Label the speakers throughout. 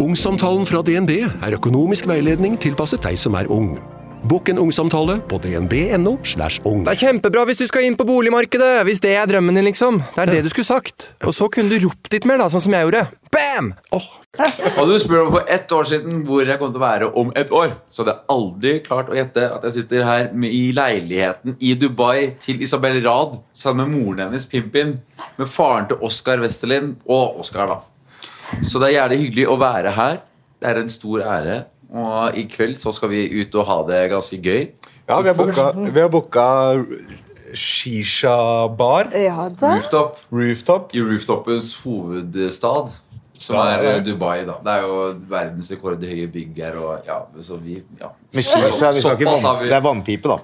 Speaker 1: Ungsamtalen fra DNB er økonomisk veiledning tilpasset deg som er ung. Bokk en ungsamtale på dnb.no. slash ung.
Speaker 2: Det er kjempebra hvis du skal inn på boligmarkedet! Hvis det er drømmen din, liksom. Det er det du skulle sagt. Og så kunne du ropt litt mer, da, sånn som jeg gjorde. Bam!
Speaker 3: Hadde du spurt meg for ett år siden hvor jeg kom til å være om et år, så hadde jeg aldri klart å gjette at jeg sitter her med, i leiligheten i Dubai til Isabel Rad sammen med moren hennes, Pimpin, med faren til Oskar Westerlin og Oskar, da. Så det er gjerne hyggelig å være her. Det er en stor ære. Og i kveld så skal vi ut og ha det ganske gøy.
Speaker 4: Ja, vi har booka, vi har booka shisha-bar.
Speaker 5: Ja da.
Speaker 3: Rooftop
Speaker 4: Rooftop.
Speaker 3: i rooftopens hovedstad, som
Speaker 4: Ja,
Speaker 3: er
Speaker 4: ja.
Speaker 3: eh, Dubai, da. Det er jo verdensrekord i høye bygg her, og ja, så vi Ja.
Speaker 6: Med shisha, vi snakker
Speaker 3: Såpass har
Speaker 6: vann,
Speaker 3: vi.
Speaker 6: det er vannpipe, da.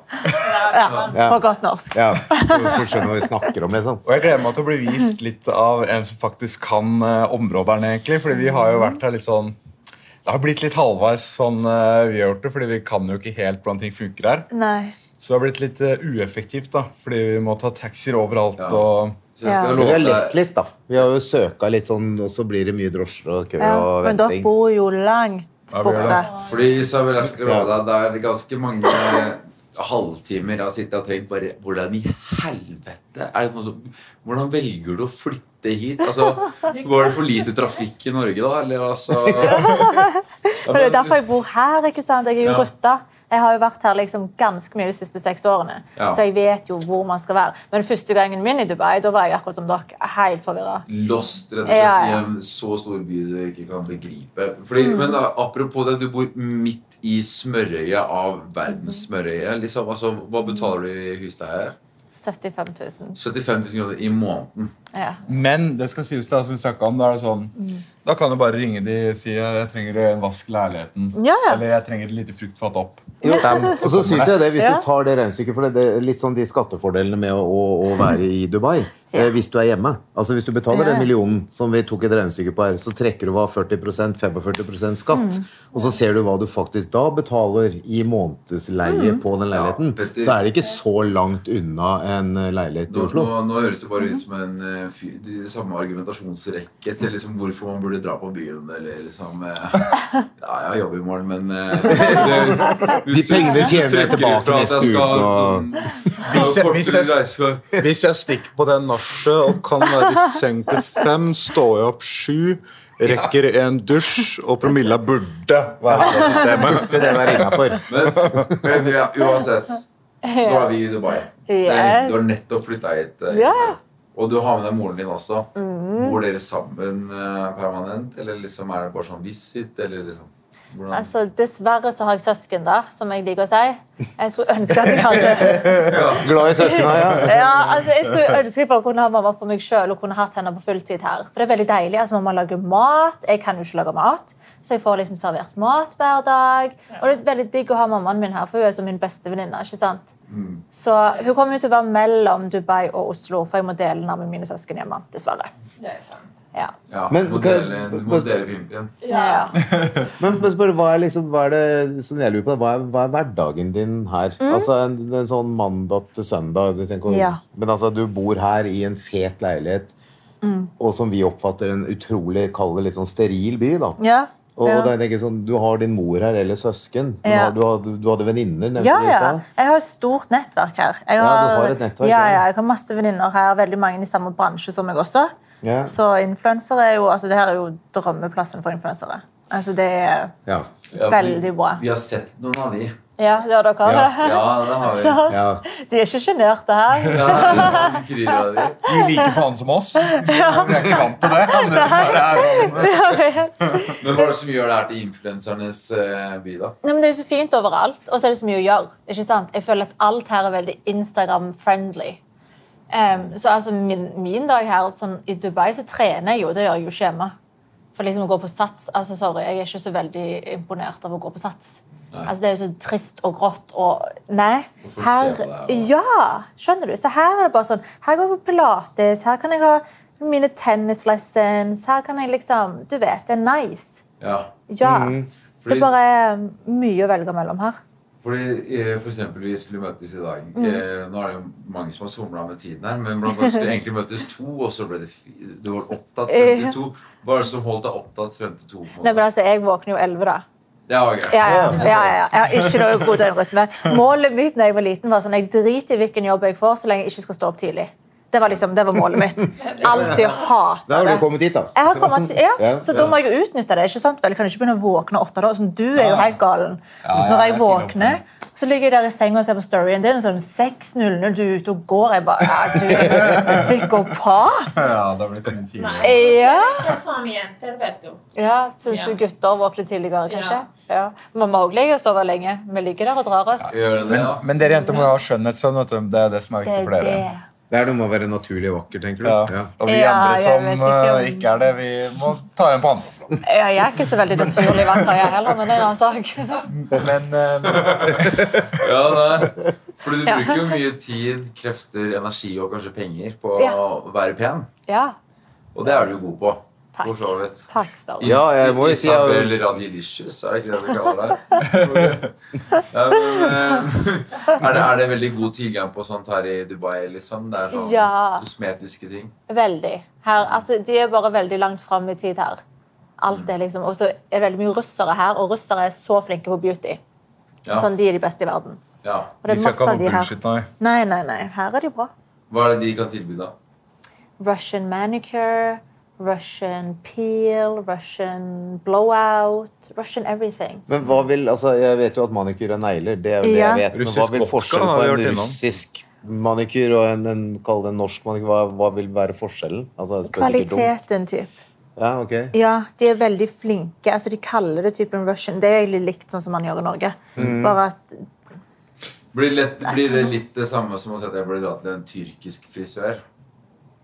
Speaker 5: Ja, på godt norsk.
Speaker 6: Ja, så folk skjønner hva vi snakker om. Liksom.
Speaker 4: Og jeg gleder meg til å bli vist litt av en som faktisk kan eh, områdene, egentlig. Fordi vi har jo vært her litt sånn Det har blitt litt halvveis sånn eh, vi har gjort det, fordi vi kan jo ikke helt hvordan ting funker her.
Speaker 5: Nei.
Speaker 4: Så det har blitt litt eh, ueffektivt, da. Fordi vi må ta taxier overalt
Speaker 3: Ja.
Speaker 4: og
Speaker 3: Så jeg skal
Speaker 5: Ja.
Speaker 6: Men Vi har
Speaker 3: love
Speaker 6: lekt
Speaker 3: deg
Speaker 6: litt, da. Vi har jo søka litt sånn, og så blir det mye drosjer og kø
Speaker 5: Ja,
Speaker 6: og
Speaker 5: men dere
Speaker 6: venting.
Speaker 5: bor jo langt
Speaker 4: Ja, vi gjør
Speaker 5: borte.
Speaker 3: Fordi Isabel, jeg skal love deg, det er ganske mange halvtimer jeg har sittet og tenkt bare Hvordan i helvete er det noe som Hvordan velger du å flytte hit? Altså, Går det for lite trafikk i Norge, da? Eller altså
Speaker 5: Og det er derfor jeg bor her. ikke sant? Jeg er jo
Speaker 3: Ja.
Speaker 5: rutta. Jeg har jo vært her liksom ganske mye de siste seks årene,
Speaker 3: Ja.
Speaker 5: så jeg vet jo hvor man skal være. Men første gangen min i Dubai, da var jeg akkurat som dere, helt forvirra.
Speaker 3: lost rett og slett,
Speaker 5: Ja, Mm. ja.
Speaker 3: i en så stor by du ikke kan begripe. Fordi, Men da, apropos det, du bor midt i smørøyet av verdens smørøye. Liksom. Altså, hva betaler du i husleie? her?
Speaker 5: 75 000.
Speaker 3: 75 000 kroner i måneden.
Speaker 5: Ja.
Speaker 4: Men det skal sies da, som vi snakket om, da er det sånn
Speaker 5: Mm.
Speaker 4: Da kan du bare ringe de og si jeg trenger en vask i leiligheten.
Speaker 5: Ja, ja.
Speaker 4: Eller jeg trenger et lite fruktfat opp.
Speaker 6: Jo, og så synes jeg det, Hvis
Speaker 5: Ja.
Speaker 6: du tar det regnestykket for det, det er litt sånn de skattefordelene med å, å, å være i Dubai eh, hvis du er hjemme Altså Hvis du betaler
Speaker 5: Ja, ja.
Speaker 6: den millionen som vi tok et regnestykke på her, så trekker du av 40 45
Speaker 5: Mm.
Speaker 6: skatt. Og så ser du hva du faktisk da betaler i månedsleie
Speaker 5: Mm.
Speaker 6: på den leiligheten.
Speaker 3: Ja, Petter.
Speaker 6: så er det ikke så langt unna en eh, leilighet i
Speaker 3: Nå, nå,
Speaker 6: Oslo. Mhm.
Speaker 3: nå høres det bare ut som en eh, fyr, de samme argumentasjonsrekke til liksom hvorfor man burde dra på byen, eller liksom eh, Ja, jeg har jobb i morgen, men eh, det, hvis
Speaker 6: De pengene
Speaker 3: hvis
Speaker 6: tjener jeg
Speaker 3: trykker
Speaker 6: tilbake
Speaker 3: fra at jeg
Speaker 6: neste
Speaker 3: skal,
Speaker 6: uke, og-
Speaker 3: mm, ha
Speaker 4: Hvis jeg-
Speaker 3: kortere
Speaker 4: hvis jeg-
Speaker 3: reise-
Speaker 4: Hvis jeg stikker på det nachet og kan være i seng til fem, står jeg opp sju, rekker en dusj, og promilla burde være det systemet.
Speaker 6: Det er det jeg er innafor.
Speaker 3: Men, men du, ja, uansett, nå er vi i Dubai. Det er- Du har nettopp flytta hit. eh,
Speaker 5: Ja.
Speaker 3: Isabel. Og du har med deg moren din også.
Speaker 6: Mhm.
Speaker 3: Bor dere sammen eh, permanent, eller liksom er det bare sånn visit? Eller liksom, hvordan?
Speaker 5: Altså, Dessverre så har jeg søsken, da, som jeg liker å si. Jeg skulle ønske at jeg hadde
Speaker 6: Glad i søskena, ja.
Speaker 5: Ja, altså, Jeg skulle ønske jeg bare kunne ha mamma for meg sjøl og kunne hatt henne på fulltid her. For det er veldig deilig. altså Mamma lager mat. Jeg kan jo ikke lage mat. Så jeg får liksom servert mat hver dag. Og det er veldig digg å ha mammaen min her, for hun er som min beste venninne. ikke sant?
Speaker 6: Mm.
Speaker 5: Så hun kommer jo til å være mellom Dubai og Oslo, for jeg må dele henne med mine søsken hjemme. dessverre. Ja.
Speaker 3: Ja,
Speaker 6: Men-
Speaker 3: du må dele-
Speaker 6: kan-
Speaker 3: du må dele pimpen.
Speaker 5: Ja.
Speaker 6: Men men spør, hva er, liksom, hva er det som jeg lurer på? Hva er, hva er hverdagen din her? Altså en, en sånn mandag til søndag. Du tenker,
Speaker 5: Mm. Ja.
Speaker 6: Men altså, du bor her i en fet leilighet,
Speaker 5: Mm.
Speaker 6: og som vi oppfatter en utrolig kall det litt sånn steril by. da.
Speaker 5: Ja.
Speaker 6: Og,
Speaker 5: Ja.
Speaker 6: og da tenker jeg sånn, Du har din mor her, eller søsken. Du,
Speaker 5: Ja.
Speaker 6: har, du, har, du hadde venninner, nevnte
Speaker 5: Ja,
Speaker 6: du i
Speaker 5: ja.
Speaker 6: stad.
Speaker 5: Jeg har et stort nettverk her. Jeg
Speaker 6: Ja, du har et
Speaker 5: ja,
Speaker 6: nettverk, ja.
Speaker 5: ja, jeg har masse venninner her, veldig mange i samme bransje som meg også.
Speaker 6: Ja.
Speaker 5: Så influensere er jo, altså det her er jo drømmeplassen for influensere. Altså det er
Speaker 6: Ja.
Speaker 3: Ja,
Speaker 5: veldig
Speaker 3: vi-
Speaker 5: bra.
Speaker 3: Vi har sett noen av de.
Speaker 5: Ja, det har dere.
Speaker 6: Ja.
Speaker 3: Ja, det har vi.
Speaker 6: ja.
Speaker 5: De er ikke sjenerte her.
Speaker 3: Ja, det kryr av de.
Speaker 4: Du liker faen som oss. Vi er ikke vant til det. Men det som bare er sånn.
Speaker 3: Men hva er det som gjør det her til influensernes eh, by, da?
Speaker 5: Nei, men Det er jo så fint overalt, og så er det så mye å gjøre. ikke sant? Jeg føler at alt her er veldig Instagram-friendly. Em, så altså min, min dag her sånn, i Dubai, så trener jeg jo. Det gjør jeg jo ikke hjemme. For liksom å gå på sats altså Sorry, jeg er ikke så veldig imponert av å gå på sats. Altså Det er jo så trist og grått og Nei.
Speaker 3: Hvorfor ser
Speaker 5: Her,
Speaker 3: du det her, da?
Speaker 5: ja, skjønner du? Så her er det bare sånn Her går jeg på pilates, her kan jeg ha mine tennislessons, her kan jeg liksom Du vet, det er nice.
Speaker 3: Ja. Mm.
Speaker 5: Ja. Det
Speaker 3: Fordi-
Speaker 5: er bare mye å velge mellom her.
Speaker 3: Fordi eh, for eksempel vi skulle møtes i dag.
Speaker 5: Mm.
Speaker 3: Eh, nå er det jo mange som har somla med tiden her, men blant annet skulle vi egentlig møtes to, og så ble det fi- du var opptatt frem til to. Hva er det som holdt deg opptatt frem til to? på en
Speaker 5: Nei, men
Speaker 3: måte?
Speaker 5: altså, jeg våkner jo elleve, da.
Speaker 3: Det var greit.
Speaker 5: Ja, ja, ja, ja. Jeg har ikke noe god døgnrytme. Målet mitt da jeg var liten, var sånn jeg driter i hvilken jobb jeg får, så lenge jeg ikke skal stå opp tidlig. Det var liksom, det var målet mitt. Alltid
Speaker 6: Da
Speaker 5: hata
Speaker 6: har du
Speaker 5: det.
Speaker 6: kommet hit, da.
Speaker 5: Jeg har kommet til, ja,
Speaker 6: Ja,
Speaker 5: så da må jeg jo utnytte det. ikke sant? Vel, jeg kan ikke begynne å våkne åtte da. Sånn, du er jo
Speaker 4: Ja.
Speaker 5: helt galen.
Speaker 4: Ja, ja,
Speaker 5: Når
Speaker 4: jeg
Speaker 5: jeg
Speaker 4: er
Speaker 5: våkner, så ligger jeg der i senga og ser på storyen din, og sånn 6.00, du er ute og går. Jeg bare ja, Du er en psykopat!
Speaker 4: Ja, det sånn har blitt en time.
Speaker 7: Nei.
Speaker 5: Ja.
Speaker 7: Det er sånn jenter, vet du.
Speaker 5: Ja, syns
Speaker 7: Ja.
Speaker 5: du gutter våkner tidligere, kanskje? Ja. Mamma òg ligger og sover lenge. Vi ligger der og drar oss.
Speaker 3: Gjør det det,
Speaker 4: Men,
Speaker 3: da?
Speaker 4: men dere jenter må jo ha skjønnhetssønn. vet du. Det er det som er
Speaker 5: Det
Speaker 4: viktig
Speaker 5: er
Speaker 4: for dere.
Speaker 5: det.
Speaker 6: Det er noe med å være naturlig vakker, tenker du.
Speaker 4: Ja.
Speaker 6: Ja.
Speaker 4: Og vi
Speaker 5: Ja,
Speaker 4: andre
Speaker 5: jeg
Speaker 4: som
Speaker 5: vet ikke om-
Speaker 4: eh, ikke er det, vi må ta igjen på andre.
Speaker 5: Ja, jeg er ikke så veldig naturlig vakker, jeg heller, men det er en annen sak.
Speaker 4: Men eh,
Speaker 3: Ja, nei. Fordi du bruker jo mye tid, krefter, energi og kanskje penger på
Speaker 5: Ja.
Speaker 3: å være pen.
Speaker 5: Ja,
Speaker 3: Og det er du jo god på.
Speaker 5: Takk.
Speaker 3: For så vidt.
Speaker 5: takk skal du ha.
Speaker 6: Ja, jeg må jo si jeg-
Speaker 3: Isabel Radilicious, er det ikke det vi kaller det? Ja, men, eh, er, det er det veldig god tilgang på sånt her i Dubai? liksom? Det er sånn
Speaker 5: Ja.
Speaker 3: kosmetiske ting.
Speaker 5: Veldig. Her, altså, de er bare veldig langt fram i tid her. Alt er liksom, Og så er det veldig mye russere her, og russere er så flinke på beauty.
Speaker 3: Ja.
Speaker 5: Sånn, De er de beste i verden.
Speaker 3: ja.
Speaker 5: Og det
Speaker 4: vi
Speaker 5: er
Speaker 4: skal ikke
Speaker 5: masse
Speaker 4: ha
Speaker 5: av de
Speaker 4: noe
Speaker 5: her.
Speaker 4: bullshit, nei.
Speaker 5: Nei, nei, nei. Her er de bra.
Speaker 3: Hva er det de kan tilby, da?
Speaker 5: Russian manicure, Russian peel, Russian blowout, Russian everything.
Speaker 6: Men hva vil, altså, Jeg vet jo at manikyr er negler. det er jo det
Speaker 5: Ja.
Speaker 6: jeg vet, Men hva
Speaker 4: Russisk
Speaker 6: vil
Speaker 4: vodka
Speaker 6: forskjellen
Speaker 4: har vi
Speaker 6: på
Speaker 4: vært
Speaker 6: en
Speaker 4: innom.
Speaker 6: russisk manikyr og en, en kall det en norsk manikyr? Hva, hva vil være forskjellen? Altså, det spørs sikkert dumt.
Speaker 5: Kvaliteten, typ.
Speaker 6: Ja, ok.
Speaker 5: Ja, de er veldig flinke. Altså, de kaller det typen Russian. Det er egentlig likt sånn som man gjør i Norge. Bare at
Speaker 3: Blir, lett, blir det litt det samme som å si at jeg burde dra til en tyrkisk frisør?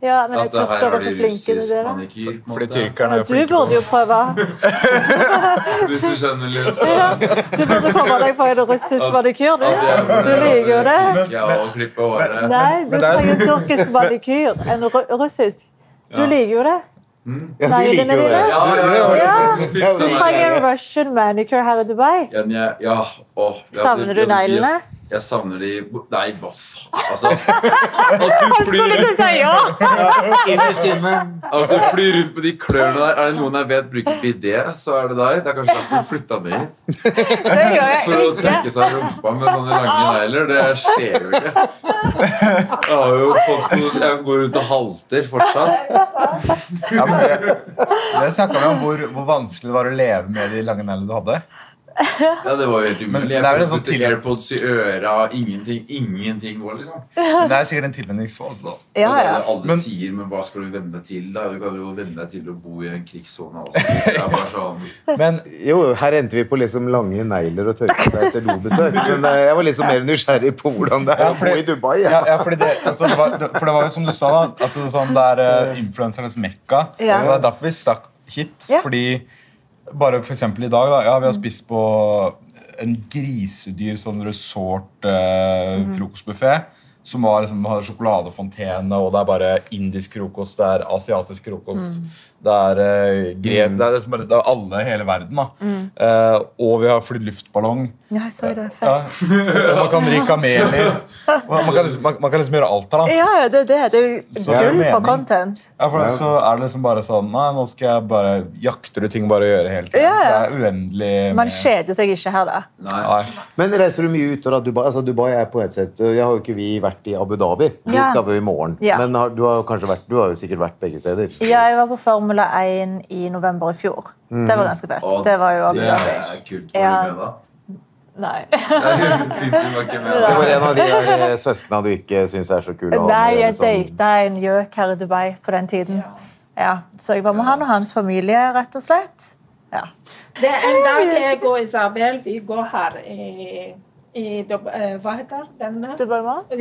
Speaker 5: Ja, men jeg
Speaker 3: At det
Speaker 5: tror
Speaker 3: her
Speaker 5: dere
Speaker 3: har
Speaker 5: er
Speaker 3: de
Speaker 5: så flinke med
Speaker 3: russisk
Speaker 5: dere.
Speaker 3: manikyr? på en
Speaker 4: Fordi
Speaker 3: måte.
Speaker 4: tyrkerne er
Speaker 5: Du
Speaker 4: flinke
Speaker 5: burde jo
Speaker 4: på
Speaker 5: prøve.
Speaker 3: Hvis du skjønner litt.
Speaker 5: Du burde komme deg på en russisk manikyr, du.
Speaker 3: Ja, det er-
Speaker 5: Du liker jo det.
Speaker 3: Ja, og klippe håret.
Speaker 5: Nei, du
Speaker 4: men det er-
Speaker 5: trenger en turkisk manikyr. En ru russisk. Du
Speaker 3: Ja.
Speaker 5: liker jo det.
Speaker 6: Ja, du
Speaker 5: Neglene
Speaker 6: liker jo
Speaker 5: dine?
Speaker 6: det.
Speaker 3: Ja, ja, ja.
Speaker 5: Ja.
Speaker 3: Fiksa
Speaker 5: Du
Speaker 3: meg.
Speaker 5: trenger en Russian manicure her i Dubai.
Speaker 3: Ja, men jeg, ja, åh, jeg-
Speaker 5: Savner du
Speaker 3: jeg- jeg-
Speaker 5: neglene?
Speaker 3: Jeg savner de Nei, hva faen? Altså, at du flyr
Speaker 5: Du sier ja!
Speaker 6: Innerst inne.
Speaker 3: At du flyr rundt med de klørne der Er det noen jeg vet bruker bidé, så er det deg. Det er kanskje derfor du flytta ned hit.
Speaker 5: Det gjør
Speaker 3: For å
Speaker 5: jeg
Speaker 3: tørke
Speaker 5: ikke.
Speaker 3: seg i rumpa med sånne lange negler. Det skjer jo ikke. Jeg har jo fått noe Jeg går rundt og halter fortsatt.
Speaker 4: Ja, men det det snakket vi om hvor, hvor vanskelig det var å leve med de lange neglene du hadde.
Speaker 3: Ja, det var jo helt
Speaker 4: Men
Speaker 3: umulig.
Speaker 4: det
Speaker 3: Jeg
Speaker 4: er vel en
Speaker 3: fikk
Speaker 4: sånn
Speaker 3: putte
Speaker 4: til-
Speaker 3: AirPods i øra. Ingenting ingenting går, liksom.
Speaker 4: Men det er sikkert en tilvenningsfase, da.
Speaker 5: Ja,
Speaker 3: det
Speaker 5: ja.
Speaker 3: er det alle
Speaker 4: Men-
Speaker 3: sier, men hva skal du vende deg til? da? Du kan jo vende deg til å bo i en krigssone. Altså. Det er bare sånn
Speaker 4: Men
Speaker 6: Jo, her endte vi på liksom lange negler og tørke seg etter dobesøk. Men eh, jeg var liksom mer nysgjerrig på hvordan det er å
Speaker 4: Ja, fordi-
Speaker 6: bo i Dubai.
Speaker 4: ja,
Speaker 6: Ja.
Speaker 4: ja, fordi det, altså, det var, det, for det var jo som du sa, da, at det, er sånn, det er eh, influensernes mekka.
Speaker 5: Ja.
Speaker 4: Og det er derfor vi stakk hit.
Speaker 5: Ja.
Speaker 4: Fordi bare for eksempel i dag, da. Ja, vi har spist på en grisedyr sånn resort eh, frokostbuffé. Som var, liksom, har sjokoladefontene, og det er bare indisk frokost, det er asiatisk frokost Det er eh, gre... Det er, liksom bare, det er alle i hele verden, da. Eh, og vi har flydd luftballong.
Speaker 5: Ja, jeg så det. Fett.
Speaker 4: Ja. Og Man kan ri kameler. Man, man, kan liksom, man, man kan liksom gjøre alt her, da.
Speaker 5: Ja, ja, det er det. Det
Speaker 4: Så- så
Speaker 5: er
Speaker 4: er
Speaker 5: jo
Speaker 4: det
Speaker 5: gull for
Speaker 4: mening.
Speaker 5: content.
Speaker 4: Ja, for Så er det liksom bare sånn Nei, nå skal jeg bare jakter du ting bare å gjøre hele tiden.
Speaker 5: Ja, ja.
Speaker 4: Det er uendelig
Speaker 5: Man kjeder seg ikke her, da.
Speaker 3: Nei.
Speaker 4: Nei.
Speaker 6: Men reiser du mye ut av Dubai? Altså, Dubai er på et sett Jeg har jo ikke vi vært i Abu Dhabi. Vi
Speaker 5: Ja.
Speaker 6: skal vi i morgen.
Speaker 5: Ja.
Speaker 6: Men har, du har jo kanskje vært Du har jo sikkert vært begge steder.
Speaker 5: Ja, jeg var på Formula 1 i november i fjor. Det var ganske fett.
Speaker 3: Å,
Speaker 5: Det var jo Abu
Speaker 3: Det
Speaker 5: Dhabi.
Speaker 3: er kult. Var
Speaker 5: Ja.
Speaker 3: du med, da?
Speaker 5: Nei.
Speaker 3: Pimpen var ikke med.
Speaker 6: Det var
Speaker 3: da.
Speaker 6: en av de der eh, søskna du ikke syns er så kul. å ha med,
Speaker 5: Nei, jeg
Speaker 6: liksom.
Speaker 5: data en gjøk her i Dubai på den tiden. Ja, så jeg var med han og hans familie, rett og slett. Ja.
Speaker 7: Det er en dag jeg og Isabel vi går her i, i Dub- eh, Hva heter denne?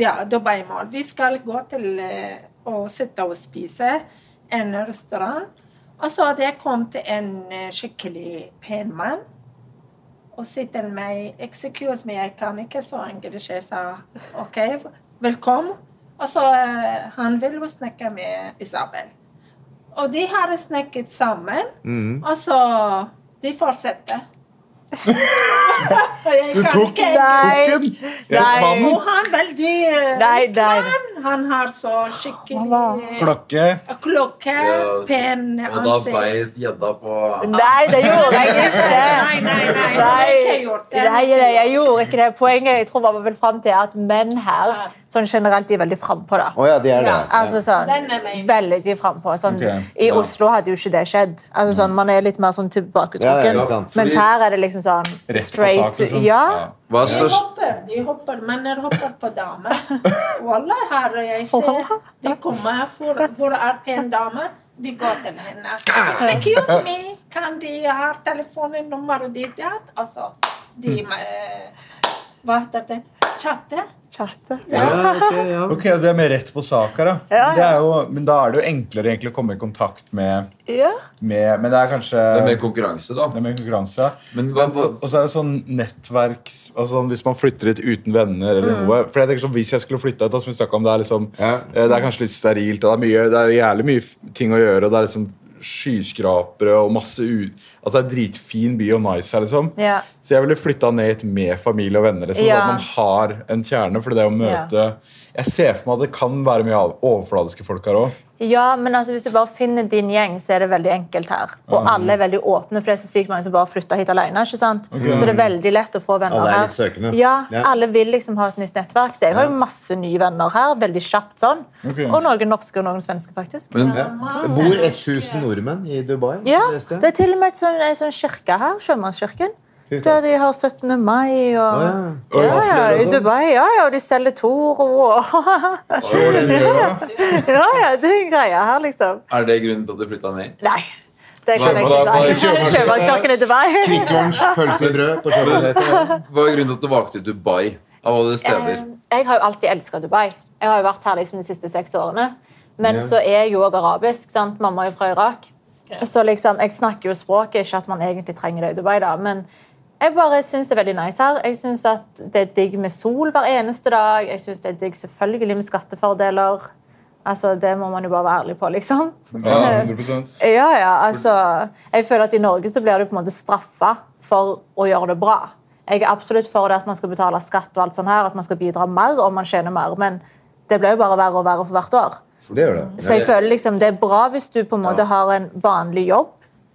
Speaker 7: Ja, Dubai Mall. Vi skal gå til eh, å sitte og spise en restaurant. Og så hadde jeg kommet til en eh, skikkelig pen mann og sier til meg 'Excuse me, jeg kan ikke så engelsk.' Jeg sa 'OK, velkommen'. Og så eh, han ville jo snakke med Isabel. Og de har snakket sammen, og så de fortsetter. Jeg
Speaker 4: Du
Speaker 7: kan
Speaker 4: tok
Speaker 7: ikke-
Speaker 5: Nei.
Speaker 4: Tok den?
Speaker 5: Nei.
Speaker 4: Mannen,
Speaker 7: Og han veldig eh,
Speaker 5: Nei, nei.
Speaker 7: Han har så skikkelig eh,
Speaker 4: klakke.
Speaker 7: klokke,
Speaker 3: Ja.
Speaker 7: pen
Speaker 3: Og da
Speaker 7: ansikt.
Speaker 3: beit gjedda på
Speaker 5: Nei, det gjorde jeg ikke.
Speaker 7: Nei, nei, nei. det har jeg ikke
Speaker 5: Nei,
Speaker 7: gjort det.
Speaker 5: nei, nei, jeg gjorde ikke det. Poenget jeg tror man vil fram til, er at menn her sånn generelt de er veldig frampå. da.
Speaker 6: Å ja, det er det.
Speaker 7: Ja,
Speaker 5: Altså sånn,
Speaker 7: Den er meg.
Speaker 5: Veldig frampå. Sånn,
Speaker 4: Ok,
Speaker 5: I Oslo hadde jo ikke det skjedd. Altså sånn, Man er litt mer sånn
Speaker 6: Mm. Ja, ja,
Speaker 5: tilbaketrukken.
Speaker 6: ikke sant.
Speaker 5: Mens her er det liksom sånn
Speaker 4: Rett på sak,
Speaker 5: straight.
Speaker 4: liksom.
Speaker 5: Ja,
Speaker 3: Hva er
Speaker 7: De
Speaker 3: størst
Speaker 7: hopper, de hopper. Menn hopper på damer. Wallah, her jeg ser de kommer. For, hvor er pen dame? De går til henne. Excuse me, kan de ha telefonnummeret ditt? Ja, altså, de eh, Hva heter det? Chatte?
Speaker 5: chatte.
Speaker 6: Ja, ok, ja.
Speaker 4: Ok, Det er med rett på sak her, da.
Speaker 5: Ja, ja.
Speaker 4: Det er jo, men da er det jo enklere egentlig å komme i kontakt med,
Speaker 5: Ja.
Speaker 4: med Men det er kanskje
Speaker 3: Det er mer konkurranse, da.
Speaker 4: det er mer konkurranse. ja.
Speaker 3: Men hva, hva,
Speaker 4: Og så er det sånn nettverks altså sånn Hvis man flytter ut uten venner eller
Speaker 5: Mm.
Speaker 4: noe For jeg tenker sånn, Hvis jeg skulle flytta ut, da, som vi snakket om, det er liksom
Speaker 6: Ja.
Speaker 4: eh, Det er kanskje litt sterilt, og det er, mye, det er jævlig mye f- ting å gjøre, og det er liksom skyskrapere og masse u... Altså det er dritfin by og nice her, liksom.
Speaker 5: Ja.
Speaker 4: Så jeg ville flytta ned hit med familie og venner. Liksom,
Speaker 5: Ja.
Speaker 4: At man har en kjerne. For det å møte Jeg ser for meg at det kan være mye overfladiske folk her òg.
Speaker 5: Ja, men altså, hvis du bare finner din gjeng, så er det veldig enkelt her. Og
Speaker 6: Ah.
Speaker 5: alle er veldig åpne, for det er så sykt mange som bare flytter hit alene. Ikke sant? Så det er veldig lett å få venner
Speaker 6: Alle er
Speaker 5: her.
Speaker 6: litt søkende.
Speaker 5: Ja,
Speaker 6: Ja.
Speaker 5: Alle vil liksom ha et nytt nettverk. Så jeg har jo masse nye venner her. veldig kjapt sånn.
Speaker 4: Ok.
Speaker 5: Og noen norske og noen svenske, faktisk.
Speaker 3: men
Speaker 6: Ja. Bor 1000 nordmenn i Dubai?
Speaker 5: Ja,
Speaker 6: leste jeg.
Speaker 5: Det er til og med et sånn, en sånn kirke her, Sjømannskirken. Der de har 17. mai og
Speaker 6: Å, ja.
Speaker 5: Ja,
Speaker 4: Og
Speaker 5: ja,
Speaker 4: vafler og
Speaker 5: I
Speaker 4: sånn.
Speaker 5: Dubai, ja, ja. Og de selger Toro og Ja, ja. Det er greia her, liksom.
Speaker 3: er det grunnen til at du flytta ned?
Speaker 5: Nei. Det kan jeg
Speaker 3: Hva- hva-
Speaker 5: ikke si. Sjømannskirken i Dubai.
Speaker 6: Kvikk Lunsj, pølse i brød på kjøkkenet.
Speaker 3: Hva er grunnen til at du valgte Dubai? Av alle steder.
Speaker 5: Eh, Jeg har jo alltid elska Dubai. Jeg har jo vært her liksom de siste seks årene. Men
Speaker 6: Ja.
Speaker 5: så er jeg jo også arabisk. sant? Mamma er jo fra Irak. Så liksom, Jeg snakker jo språket, ikke at man egentlig trenger det i Dubai, da. men jeg bare syns det er veldig nice her. Jeg synes at Det er digg med sol hver eneste dag. Jeg synes det er digg selvfølgelig med skattefordeler. Altså, Det må man jo bare være ærlig på, liksom.
Speaker 4: Ja, 100
Speaker 5: Ja, ja, altså Jeg føler at i Norge så blir du på en måte straffa for å gjøre det bra. Jeg er absolutt for det at man skal betale skatt og alt sånt her, at man skal bidra mer om man tjener mer, men det blir jo bare verre og verre for hvert år.
Speaker 6: Det gjør det.
Speaker 5: Så jeg føler liksom det er bra hvis du på en måte har en vanlig jobb.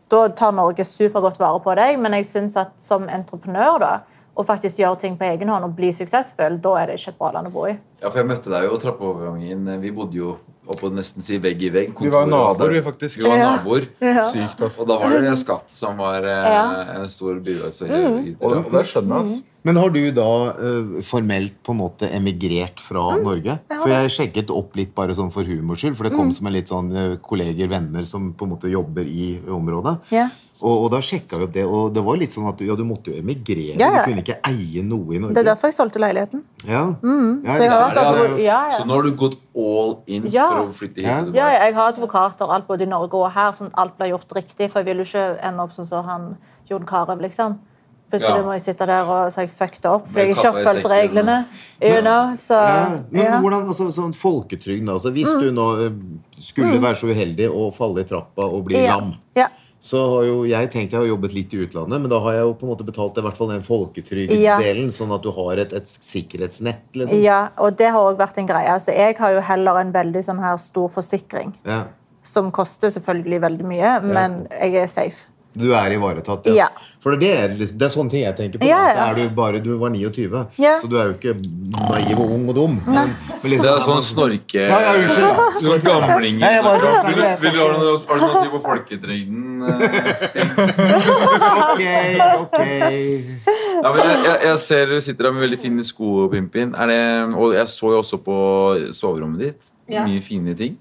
Speaker 5: Da tar Norge supergodt vare på deg, men jeg syns at som entreprenør, da, å faktisk gjøre ting på egen hånd og bli suksessfull, da er det ikke et bra land å bo i.
Speaker 3: Ja, for Jeg møtte deg jo i trappeovergangen. Vi bodde jo oppå nesten si vegg i vegg.
Speaker 4: Vi var jo
Speaker 3: Kontoret
Speaker 4: naboer, vi,
Speaker 3: der.
Speaker 4: faktisk.
Speaker 3: Vi var
Speaker 5: Ja. Mm.
Speaker 3: naboer.
Speaker 4: Sykt, altså.
Speaker 3: Og da var det skatt som var eh,
Speaker 5: Ja. Mm.
Speaker 3: en stor bidragsyter.
Speaker 4: Og det, og det skjønner jeg. ass.
Speaker 6: Men har du da eh, formelt på en måte emigrert fra
Speaker 5: Mm.
Speaker 6: Norge? For jeg sjekket opp litt bare sånn for humors skyld, for det
Speaker 5: Mm.
Speaker 6: kom som en litt sånn eh, kolleger, venner som på en måte jobber i området.
Speaker 5: Ja.
Speaker 6: Og, og da sjekka vi opp det, og det var litt sånn at du, ja, du måtte jo emigrere.
Speaker 5: Ja, ja.
Speaker 6: Du kunne ikke eie noe i Norge.
Speaker 5: Det er derfor jeg solgte leiligheten.
Speaker 6: Ja. Ja,
Speaker 5: Så jeg har
Speaker 6: ja,
Speaker 5: vært
Speaker 6: ja,
Speaker 5: altså,
Speaker 6: det-
Speaker 5: ja, ja.
Speaker 3: Så nå har du gått all in
Speaker 5: Ja.
Speaker 3: for å flytte hit
Speaker 6: Ja.
Speaker 3: til Dubai.
Speaker 5: Ja, ja, jeg har advokater og alt både i Norge og her, sånn at alt blir gjort riktig. For jeg vil jo ikke ende opp sånn som han Jon Carew, liksom. Plutselig
Speaker 3: Ja.
Speaker 5: må jeg sitte der og så har jeg fucket opp fordi
Speaker 3: Med
Speaker 5: jeg ikke har
Speaker 3: katta i
Speaker 5: fulgt
Speaker 3: sekken,
Speaker 5: reglene. You know, så
Speaker 6: Ja, Men
Speaker 5: ja. Mm.
Speaker 6: hvordan, altså, sånn folketrygden, altså, hvis du nå eh, skulle være så uheldig å falle i trappa og bli
Speaker 5: Ja.
Speaker 6: lam,
Speaker 5: Ja.
Speaker 6: så har jo jeg tenkt jeg har jobbet litt i utlandet, men da har jeg jo på en måte betalt i hvert fall den
Speaker 5: Ja.
Speaker 6: folketrygddelen, sånn at du har et, et sikkerhetsnett, liksom.
Speaker 5: ja, og det har òg vært en greie. Altså, jeg har jo heller en veldig sånn her stor forsikring,
Speaker 6: Ja.
Speaker 5: som koster selvfølgelig veldig mye, men jeg er safe.
Speaker 6: Du er ivaretatt,
Speaker 5: Ja.
Speaker 6: For det er, liksom, det er sånne ting jeg tenker på.
Speaker 5: Ja,
Speaker 6: at
Speaker 5: ja.
Speaker 6: Er du, bare, du var 29,
Speaker 5: Ja.
Speaker 6: så du er jo ikke naiv og ung og dum. Men, men
Speaker 3: Det er
Speaker 6: liksom,
Speaker 3: sånn snorke...
Speaker 6: Ja, ja, unnskyld.
Speaker 3: Sånn gamling.
Speaker 6: Nei, jeg bare-
Speaker 3: Vil du-
Speaker 6: jeg skal
Speaker 3: vil du ha noe har du noe å si på folketrygden? eh?
Speaker 6: ok, ok.
Speaker 3: Ja, men jeg, jeg, jeg ser du sitter der med veldig fine sko, Pimpin. Er det, og jeg så jo også på soverommet ditt.
Speaker 7: Ja.
Speaker 3: Mye fine ting.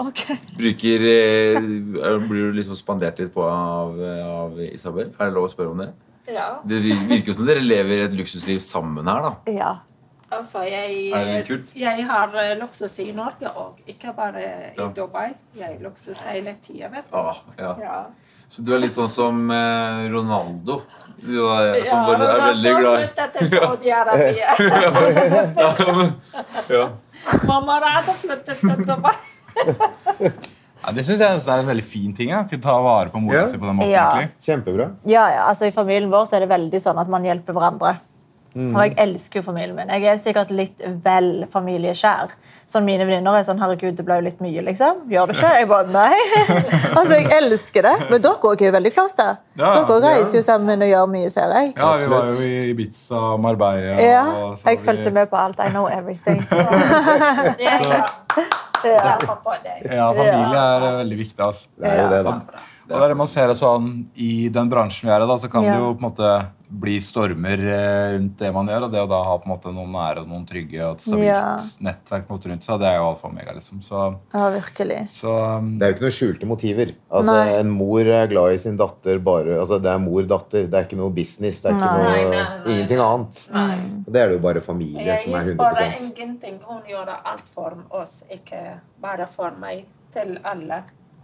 Speaker 5: Ok.
Speaker 3: Bruker eh, er- Blir du liksom spandert litt på av, eh, av Isabel? Er det lov å spørre om det?
Speaker 7: Ja.
Speaker 3: Det vir- virker jo som dere lever et luksusliv sammen her, da.
Speaker 5: Ja.
Speaker 7: Altså, jeg,
Speaker 3: Er det kult?
Speaker 7: jeg har eh, luksus i Norge òg, ikke bare i
Speaker 3: Ja.
Speaker 7: Dubai. Jeg har luksus hele tida, vet du.
Speaker 3: Ah, ja.
Speaker 7: Ja.
Speaker 3: Så du er litt sånn som eh, Ronaldo. Du er, som
Speaker 7: Ja,
Speaker 3: bare er veldig
Speaker 7: Ronaldo
Speaker 3: glad i
Speaker 7: flyttet til Saudi-Arabia.
Speaker 3: ja.
Speaker 7: sånn. Mamma Rada flyttet til Dubai.
Speaker 4: Ja, det syns jeg nesten er en veldig fin ting. Ja. Kunne ta vare på mora
Speaker 6: Ja.
Speaker 4: si på den måten.
Speaker 5: Ja.
Speaker 4: egentlig.
Speaker 6: Kjempebra.
Speaker 5: Ja, ja, altså I familien vår så er det veldig sånn at man hjelper hverandre. Og jeg elsker jo familien min. Jeg er sikkert litt vel familieskjær. Sånn Mine venninner er sånn 'Herregud, det ble jo litt mye', liksom. Gjør det ikke? Jeg bare nei. altså, jeg elsker det. Men dere også er jo veldig close, da.
Speaker 4: Ja,
Speaker 5: dere også
Speaker 4: ja.
Speaker 5: reiser jo sammen og gjør mye, ser jeg.
Speaker 4: Ja, vi var jo i Ibiza og Marbella.
Speaker 5: Ja,
Speaker 4: og så
Speaker 5: jeg
Speaker 4: vi-
Speaker 5: fulgte med på alt. I know everything.
Speaker 7: Jeg
Speaker 5: Ja.
Speaker 7: håper på deg.
Speaker 4: Ja, familie er eh, veldig viktig. Altså.
Speaker 6: Det er jo det, da.
Speaker 4: Og det er det man ser altså, sånn, I den bransjen vi er i, da, så kan
Speaker 5: Ja.
Speaker 4: det jo på en måte bli stormer eh, rundt det man gjør. Og det å da ha på en måte noen nære og noen trygge og et stabilt
Speaker 5: Ja.
Speaker 4: nettverk på en måte rundt seg, det er jo alfa og omega. Liksom. Så,
Speaker 5: Ja, virkelig.
Speaker 4: så um,
Speaker 6: Det er jo ikke noen skjulte motiver. Altså,
Speaker 5: Nei.
Speaker 6: En mor er glad i sin datter bare altså, Det er mor-datter. Det er ikke noe business. Det er ikke
Speaker 7: Nei,
Speaker 6: noe,
Speaker 7: nei, nei, nei.
Speaker 6: ingenting annet. Og Det er det jo bare familie som er
Speaker 7: Jeg sparer
Speaker 6: 100
Speaker 7: ingenting. Hun gjør alt for oss, ikke bare for meg. Til alle.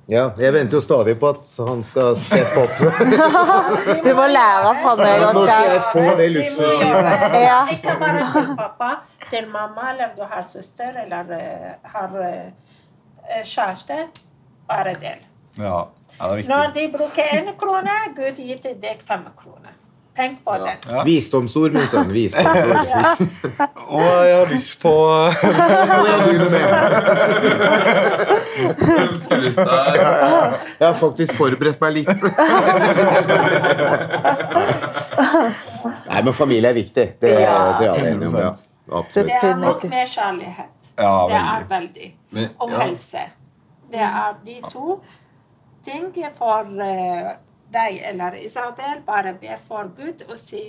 Speaker 6: ja, Jeg venter jo stadig på at han skal steppe opp.
Speaker 5: Du må lære fra meg,
Speaker 6: Nå skal jeg
Speaker 5: Oskar.
Speaker 6: få det
Speaker 7: Vi må
Speaker 6: luksuslivet.
Speaker 7: gjøre det.
Speaker 5: Ja.
Speaker 7: Ikke bare til pappa, til mamma, eller du har søster, eller eh, har eh, kjæreste. Bare del.
Speaker 4: ja, ja, det er viktig.
Speaker 7: Når de bruker én krone, Gud gir til deg fem kroner. Tenk på det.
Speaker 6: Visdomsord, min sønn. Visdomsord.
Speaker 4: Å, jeg har lyst på
Speaker 3: Ønskelista er
Speaker 6: Jeg har faktisk forberedt meg litt. Nei, men familie er viktig. Det er
Speaker 5: Ja.
Speaker 6: det er alle enige om. Ja. Absolutt.
Speaker 7: Det er nok
Speaker 5: Definitivt.
Speaker 7: mer kjærlighet.
Speaker 4: Ja,
Speaker 7: det er veldig.
Speaker 3: Men-
Speaker 7: Og
Speaker 3: ja.
Speaker 7: helse. Det er de to ting for eh, deg eller Isabel. Bare be for Gud og si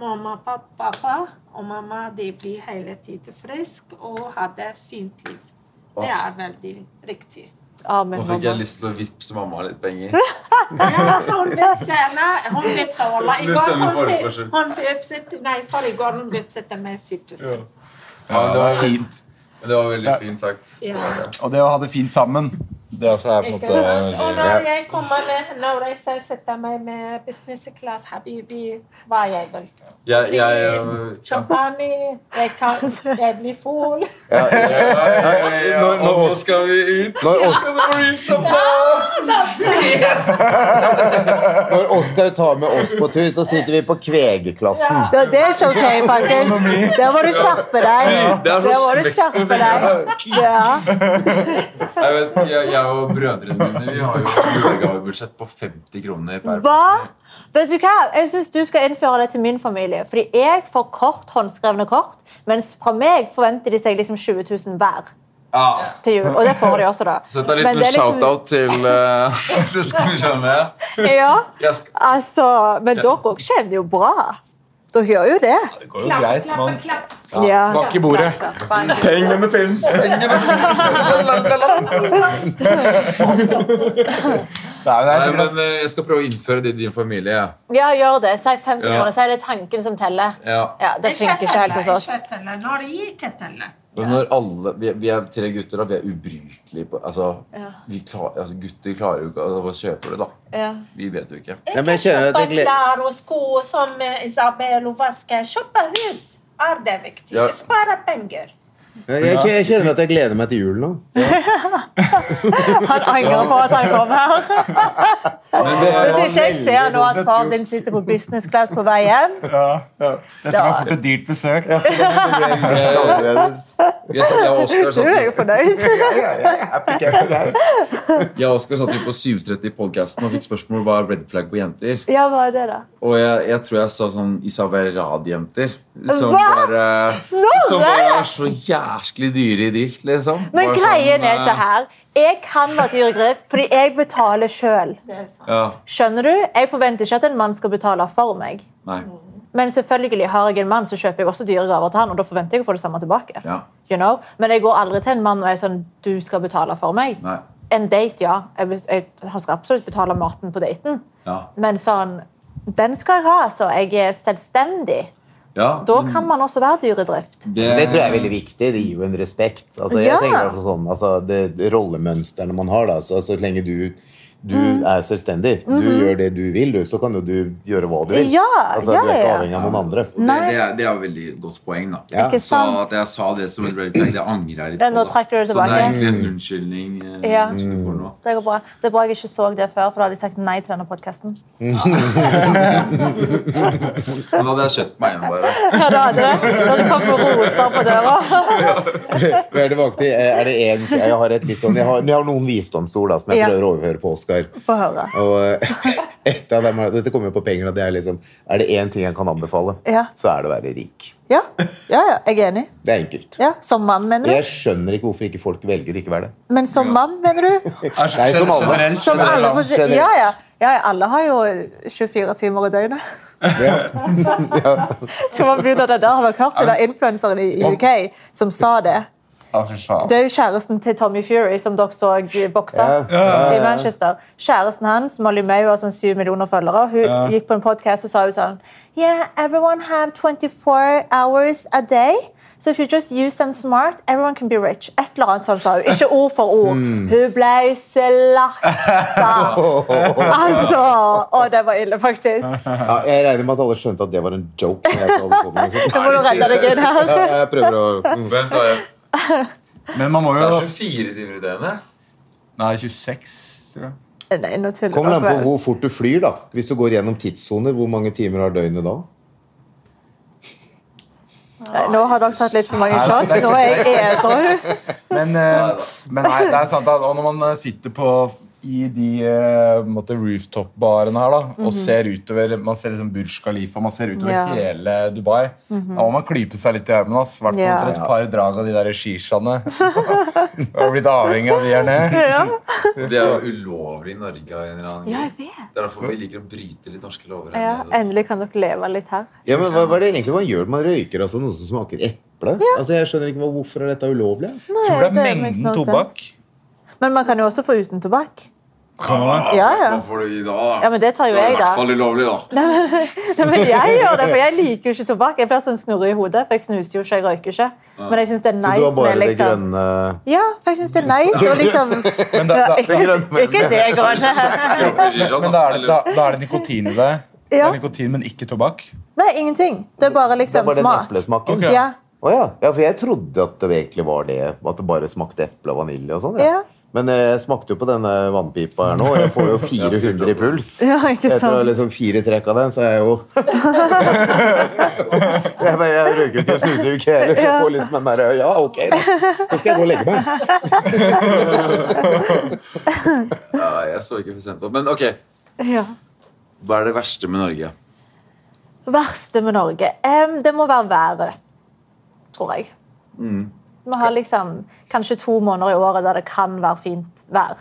Speaker 7: mamma, pappa, pappa og mamma de blir hele tiden frisk og ha det fint liv. Det er veldig riktig.
Speaker 5: Amen,
Speaker 3: Nå fikk jeg
Speaker 5: mamma.
Speaker 3: lyst til å vippse mamma litt penger.
Speaker 7: Ja, hun vipset henne. Hun vipset Walla. I
Speaker 3: Hun
Speaker 7: går
Speaker 3: sender
Speaker 7: hun, si-
Speaker 3: forespørsel.
Speaker 7: hun vipset Nei, for i går hun vipset meg 7000.
Speaker 3: Ja, det var fint. Det var veldig
Speaker 4: Ja.
Speaker 3: fint sagt.
Speaker 7: Ja.
Speaker 4: Og det å ha det fint sammen, det også er på en
Speaker 7: Ikke
Speaker 4: måte eh,
Speaker 7: sant? Og
Speaker 4: veldig
Speaker 7: når jeg kommer ned, når jeg sier sette meg med business class, habibi, hva jeg vil.
Speaker 3: Jeg, jeg, jeg,
Speaker 7: Champagne, jeg, kan, jeg blir full.
Speaker 3: ja,
Speaker 6: Nå- nå-
Speaker 3: og nå skal vi ut.
Speaker 6: Når, Os
Speaker 3: Skal det bli utstopp da?
Speaker 6: når Oskar tar med oss på tur, så sitter vi på Kvegeklassen.
Speaker 5: Ja, det er ikke ok, faktisk. Der må du skjerpe deg.
Speaker 3: Det er så
Speaker 5: Der må du
Speaker 3: svett.
Speaker 5: skjerpe deg. Ja.
Speaker 3: Jeg, vet, jeg, jeg og brødrene mine vi har jo et julegavebudsjett på 50 kroner per
Speaker 5: Hva? Vet du hva? Jeg synes du skal innføre det til min familie. Fordi jeg får kort håndskrevne kort, mens fra meg forventer de seg liksom 20 000 hver
Speaker 3: Ja.
Speaker 5: til jul. Og det får de også, da.
Speaker 3: Sett deg
Speaker 5: Men
Speaker 3: litt
Speaker 5: det er liksom-
Speaker 3: shout-out til uh, søsknene, skjønner jeg.
Speaker 5: Ja,
Speaker 3: jeg skal,
Speaker 5: altså, men dere òg kjenner jo bra. Dere gjør jo det.
Speaker 4: Det går jo greit. Man
Speaker 7: klapp.
Speaker 5: Ja.
Speaker 4: bak i bordet.
Speaker 3: pengene finnes, pengene
Speaker 4: Nei, men det er
Speaker 3: Nei,
Speaker 4: sikkert
Speaker 3: men eh, Jeg skal prøve å innføre det i din familie. ja.
Speaker 5: Ja, gjør det. Si 50
Speaker 3: Ja.
Speaker 5: kroner. Si det er tanken som teller.
Speaker 3: Ja.
Speaker 5: Ja, Det funker ikke helt hos oss.
Speaker 7: Ikke teller. Når jeg ikke teller.
Speaker 3: Men når alle, vi, er- vi er tre gutter, og vi er ubrukelige på altså,
Speaker 5: Ja.
Speaker 3: vi klar, altså, Gutter klarer jo ikke altså, Hva kjøper du, da?
Speaker 5: Ja.
Speaker 3: Vi vet jo ikke.
Speaker 6: Ja, men jeg kjenner at
Speaker 7: Kjøpe
Speaker 6: jeg gleder
Speaker 7: klær og sko som eh, Isabel og vaske. Kjøpe hus er det viktig.
Speaker 3: Ja.
Speaker 7: Spare penger.
Speaker 6: jeg, kje- jeg kjenner at jeg gleder meg til jul nå.
Speaker 5: Han angrer på at han kom her. Hvis ikke jeg ser nå at faren din sitter på business class på vei hjem
Speaker 4: Ja, ja. Dette var fort et dyrt besøk.
Speaker 6: Annerledes.
Speaker 3: Jeg, jeg og Oskar
Speaker 5: Du er
Speaker 3: satt,
Speaker 5: jo fornøyd.
Speaker 3: jeg og Oscar satt jo på 7.30 i podcasten og fikk spørsmål om hva er red flag på jenter.
Speaker 5: Ja, hva er det, da?
Speaker 3: Og jeg, jeg tror jeg sa sånn Isabel Rad-jenter. Som
Speaker 5: Hva?
Speaker 3: bare
Speaker 5: Snorre!
Speaker 3: Som bare er så jæsklig dyre i drift, liksom.
Speaker 5: Men
Speaker 3: Bare
Speaker 5: greien
Speaker 3: sånn,
Speaker 5: er så
Speaker 3: eh,
Speaker 5: her. Jeg kan være dyr i grep fordi jeg betaler sjøl.
Speaker 7: Det er sant.
Speaker 3: Ja,
Speaker 5: Skjønner du? Jeg forventer ikke at en mann skal betale for meg.
Speaker 3: nei.
Speaker 5: Men selvfølgelig har jeg en mann, så kjøper jeg også dyre gaver til han. og da forventer jeg å få det samme tilbake.
Speaker 3: Ja,
Speaker 5: You know? Men jeg går aldri til en mann og er sånn Du skal betale for meg.
Speaker 3: nei.
Speaker 5: En date, ja. Jeg, bet- jeg, han skal absolutt betale maten på daten.
Speaker 3: Ja.
Speaker 5: Men sånn Den skal jeg ha, altså. Jeg er selvstendig.
Speaker 3: ja
Speaker 5: Da
Speaker 3: men
Speaker 5: kan man også være dyr i drift.
Speaker 6: Det tror jeg er veldig viktig. Det gir jo en respekt. Altså, jeg
Speaker 5: Ja.
Speaker 6: tenker i hvert fall sånn, altså, det, det rollemønstrene man har, da, så, så lenge du Du
Speaker 5: Mm.
Speaker 6: er selvstendig. Du gjør det du vil, du. Så kan jo du gjøre hva du vil.
Speaker 5: Mhm. Ja,
Speaker 6: altså,
Speaker 5: ja,
Speaker 6: du er ikke
Speaker 5: ja.
Speaker 6: avhengig av noen andre.
Speaker 3: Og Det,
Speaker 5: Nei.
Speaker 3: det, er, det er et veldig godt poeng, da.
Speaker 6: Ja.
Speaker 5: Ikke
Speaker 3: Så
Speaker 5: sant?
Speaker 3: at jeg sa det som en red flag, det angrer jeg litt
Speaker 5: Ja, nå
Speaker 3: da.
Speaker 5: trekker du det
Speaker 3: Så det er
Speaker 5: tilbake.
Speaker 3: egentlig en unnskyldning eh,
Speaker 5: Ja.
Speaker 3: som du får nå.
Speaker 5: Det går bra. Det er bra jeg ikke så det før, for da hadde jeg sagt nei til denne podkasten.
Speaker 3: Men da hadde jeg kjøpt meg gjennom bare.
Speaker 5: Ja, da hadde det. Da hadde det kommet roser på døra.
Speaker 6: Men Er det, valgte, er det en, jeg har et litt sånn Jeg har, jeg har noen visdomsord da, som jeg
Speaker 5: Ja.
Speaker 6: prøver å overhøre på Oskar.
Speaker 5: Få høre.
Speaker 6: Og eh, et av dem er, dette kommer jo på penger, og det er liksom Er det én ting jeg kan anbefale,
Speaker 5: Ja.
Speaker 6: så er det å være rik.
Speaker 5: Ja, ja, ja. jeg er enig.
Speaker 6: Det er enkelt.
Speaker 5: Ja, Som mann, mener
Speaker 6: Jeg
Speaker 5: du?
Speaker 6: skjønner ikke hvorfor ikke folk velger å ikke være det.
Speaker 5: Men som mann, mener du?
Speaker 6: Nei, som alle.
Speaker 4: Generelt,
Speaker 5: Som alle
Speaker 4: generelt.
Speaker 5: forskjell- ja, ja. ja, ja. Alle har jo 24 timer i døgnet. Skal man begynne det der? Har dere hørt det der influenseren i i UK som sa det?
Speaker 4: Ja, fy faen.
Speaker 5: Det er jo kjæresten til Tommy Fury som dere så bokse i Manchester. Kjæresten hans, Molly May, har sånn 7 millioner følgere. Hun gikk på en podcast og sa hun sånn Yeah, everyone have 24 hours a day. So if you just use them smart, everyone can be rich. Et eller annet sånt sa hun. Ikke ord for ord.
Speaker 4: Mm.
Speaker 5: Hun ble slakta. altså! Å, det var ille, faktisk.
Speaker 6: Ja, jeg regner med at alle skjønte at det var en joke. Når jeg sa det sånn, liksom.
Speaker 5: Nå må du redde deg inn her.
Speaker 6: ja, jeg prøver å mm.
Speaker 3: Vent, da. jeg-
Speaker 4: Men man må
Speaker 3: Det
Speaker 4: jo
Speaker 3: er 24 timer i døgnet.
Speaker 4: Nei, 26, tror jeg.
Speaker 5: Nei, nå tuller
Speaker 6: Kommer det an på
Speaker 5: dere.
Speaker 6: hvor fort du flyr, da. Hvis du går gjennom tidssoner, hvor mange timer har døgnet da?
Speaker 5: Nei, Nå har dere tatt litt for mange shots. Nå er jeg edru.
Speaker 4: Men, eh, men nei, det er sant at og når man eh, sitter på i de eh, på en måte, rooftop-barene her da, og ser utover man ser liksom Burj Khalifa, man ser utover
Speaker 5: Ja.
Speaker 4: hele Dubai, da må man klype seg litt i armen. ass. I hvert fall
Speaker 5: Ja.
Speaker 4: etter et par drag av de der shishaene. og blitt avhengig av de her ned.
Speaker 5: Ja.
Speaker 3: Det er jo ulovlig i Norge. av en eller annen grunn.
Speaker 5: Ja, jeg vet.
Speaker 3: Det er derfor vi liker å bryte litt norske lover.
Speaker 5: Ja,
Speaker 3: her nede.
Speaker 5: endelig kan dere leve litt her.
Speaker 6: Ja, men hva, hva er det egentlig man gjør? Man røyker altså noe som smaker eple? Altså, jeg skjønner ikke hva, Hvorfor er dette ulovlig?
Speaker 4: Tror du det er
Speaker 5: makes no
Speaker 4: mengden tobakk?
Speaker 5: sense. Men man kan jo også få uten tobakk.
Speaker 4: Kan man det?
Speaker 5: Ja, ja.
Speaker 3: Hva får du i dag, da?
Speaker 5: Ja, men det tar jo
Speaker 3: Da er det i hvert
Speaker 5: jeg, da.
Speaker 3: fall ulovlig, da.
Speaker 5: Nei, men jeg gjør det, for jeg liker jo ikke tobakk. Jeg blir sånn snurre i hodet, for jeg snuser jo ikke, jeg røyker ikke. Men jeg syns det er
Speaker 6: Så du
Speaker 5: nice
Speaker 6: har
Speaker 5: med
Speaker 6: bare det
Speaker 5: liksom
Speaker 6: grønne
Speaker 5: Ja, for jeg syns det er nice og liksom
Speaker 4: Men da, da,
Speaker 5: Ikke ikke det grønne.
Speaker 4: men da, er det, da, da er det nikotin i det. Det
Speaker 5: Ja.
Speaker 4: er nikotin, men ikke tobakk.
Speaker 5: Nei, ingenting. Det er bare
Speaker 6: Det er
Speaker 5: liksom
Speaker 6: bare den
Speaker 5: smak.
Speaker 6: eplesmaken?
Speaker 4: Ok.
Speaker 5: Ja.
Speaker 6: Å ja. ja, for jeg trodde at det egentlig var det. At det bare smakte eple og vanilje og sånn.
Speaker 5: Ja.
Speaker 6: Men eh, jeg smakte jo på denne vannpipa her nå, og jeg får jo 400 i puls.
Speaker 5: Ja, ikke
Speaker 6: Etter å ha
Speaker 5: sant.
Speaker 6: liksom fire trekk av den, så er jeg jo jeg, men jeg røyker jo ikke og snuser jo ikke heller, så jeg får liksom den derre Ja, ok, da. Nå skal jeg gå og legge meg.
Speaker 3: Ja, jeg så ikke for sent opp. Men ok,
Speaker 5: Ja.
Speaker 3: hva er det verste med Norge?
Speaker 5: Verste med Norge? Em, det må være været, tror jeg. Vi har liksom kanskje to måneder i året der det kan være fint vær.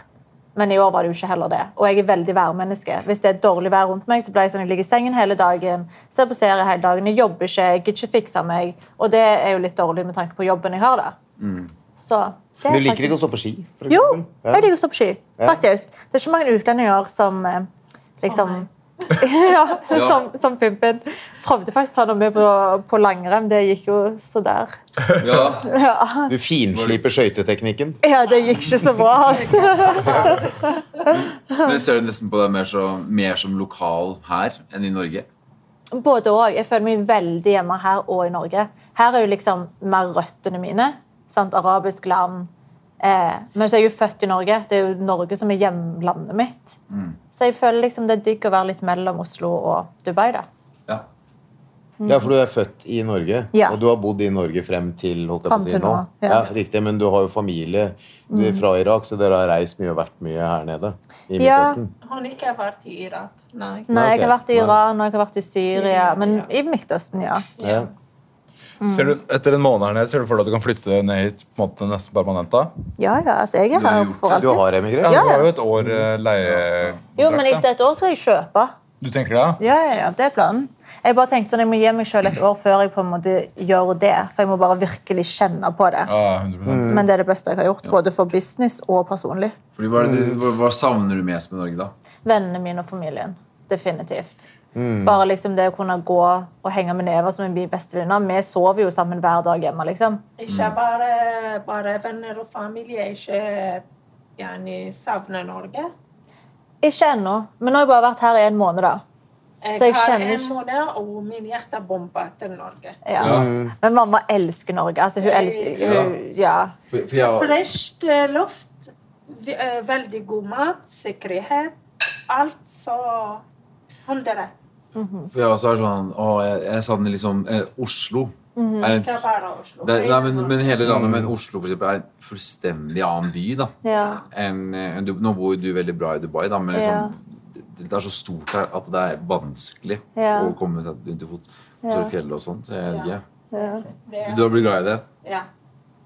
Speaker 5: Men i år var det jo ikke heller det. Og jeg er veldig værmenneske. Hvis det er dårlig vær rundt meg, så blir jeg sånn, jeg ligger i sengen hele dagen, ser på serie hele dagen, jeg jobber ikke, jeg gidder ikke fikse meg. Og det er jo litt dårlig med tanke på jobben jeg har, da. Så det
Speaker 6: Men
Speaker 5: er
Speaker 6: du liker
Speaker 5: faktisk-
Speaker 6: ikke å stå på ski? for
Speaker 5: Jo,
Speaker 6: eksempel? Ja.
Speaker 5: jeg liker å stå på ski, faktisk. Det er ikke mange utlendinger som eh, liksom ja, som, som pimpen. Prøvde faktisk å ta noe med på, på langrenn. Det gikk jo så der.
Speaker 3: Ja,
Speaker 6: Du finsliper skøyteteknikken?
Speaker 5: Ja, det gikk ikke så bra. Altså.
Speaker 3: men Ser du nesten på deg mer, så, mer som lokal her enn i Norge?
Speaker 5: Både òg. Jeg føler meg veldig hjemme her og i Norge. Her er jo liksom mer røttene mine. Sant? Arabisk land. Eh, men så er jeg jo født i Norge. Det er jo Norge som er hjemlandet mitt.
Speaker 6: Mm.
Speaker 5: Så jeg føler liksom det er digg å være litt mellom Oslo og Dubai, da.
Speaker 3: Ja.
Speaker 6: Ja, for du er født i Norge,
Speaker 5: Ja.
Speaker 6: og du har bodd i Norge frem til holdt jeg på
Speaker 5: Frem
Speaker 6: å si
Speaker 5: til
Speaker 6: nå.
Speaker 5: nå,
Speaker 6: Ja.
Speaker 5: ja. Mm.
Speaker 6: riktig, Men du har jo familie du er fra Irak, så dere har reist mye og vært mye her nede. i
Speaker 5: Ja.
Speaker 6: Midtøsten.
Speaker 7: Hun ikke har vært i Irak. Nei.
Speaker 5: Nei, jeg har
Speaker 6: ok.
Speaker 5: vært i
Speaker 6: Nei.
Speaker 5: Iran og jeg har vært i Syria.
Speaker 7: Syria,
Speaker 5: Men
Speaker 7: ja.
Speaker 5: i Midtøsten, ja.
Speaker 6: Ja.
Speaker 4: Ser du, etter en måned her nede, ser du for deg at du kan flytte ned hit på en måte nesten permanent? da?
Speaker 5: Ja, ja, altså jeg er
Speaker 3: Du har
Speaker 5: her
Speaker 3: gjort
Speaker 5: for
Speaker 3: det.
Speaker 6: Du
Speaker 5: alltid.
Speaker 6: har
Speaker 4: Ja,
Speaker 6: emigrert?
Speaker 4: du
Speaker 5: Ja, ja.
Speaker 4: har jo et år eh,
Speaker 5: Jo, men eh.
Speaker 4: leiekontrakt.
Speaker 5: etter et år skal jeg kjøpe.
Speaker 4: da. Du tenker det? ja?
Speaker 5: Ja, ja, ja, det er planen. Jeg bare tenkte sånn, jeg må gi meg selv et år før jeg på en måte gjør det. For jeg må bare virkelig kjenne på det.
Speaker 4: Ja, 100
Speaker 5: Men det er det beste jeg har gjort, både for business og personlig.
Speaker 3: Fordi hva, er det, du- hva, hva savner du mest med Norge, da?
Speaker 5: Vennene mine og familien. Definitivt. Bare liksom det å kunne gå og henge med Neva, som er min beste venninne. Vi sover jo sammen hver dag hjemme, liksom.
Speaker 7: Ikke
Speaker 4: Mm.
Speaker 7: bare, bare venner og familie. Ikke gjerne savner Norge.
Speaker 5: Ikke ennå, men nå har jeg bare vært her i en måned, da. Så
Speaker 7: Jeg
Speaker 5: jeg
Speaker 7: har
Speaker 5: kjenner
Speaker 7: en
Speaker 5: ikke
Speaker 7: måned, og min hjerte bomber til Norge.
Speaker 5: ja.
Speaker 3: Ja.
Speaker 5: Men mamma elsker Norge. Altså, hun elsker
Speaker 3: Ja.
Speaker 5: hun, Ja.
Speaker 3: For, for jeg,
Speaker 7: Fresh eh, luft, vi- eh, veldig god mat, sikkerhet. Alt så hundre.
Speaker 3: for jeg også er sånn Å, jeg, jeg savner liksom eh, Oslo.
Speaker 5: Mhm.
Speaker 3: Er en,
Speaker 7: Ikke bare Oslo.
Speaker 3: det, nei, men, men hele landet, men Oslo for eksempel, er en fullstendig annen by. da
Speaker 5: ja.
Speaker 3: enn enn Dub- Nå bor jo eh, du veldig bra i Dubai, da, men
Speaker 5: Ja.
Speaker 3: liksom, det, det er så stort her at det er vanskelig
Speaker 5: Ja.
Speaker 3: å komme seg rundt til fots. Og Så er det fjell og sånt. Så jeg,
Speaker 7: Ja.
Speaker 3: ja.
Speaker 5: ja.
Speaker 7: Det-
Speaker 3: Du har blitt glad i det?
Speaker 7: ja.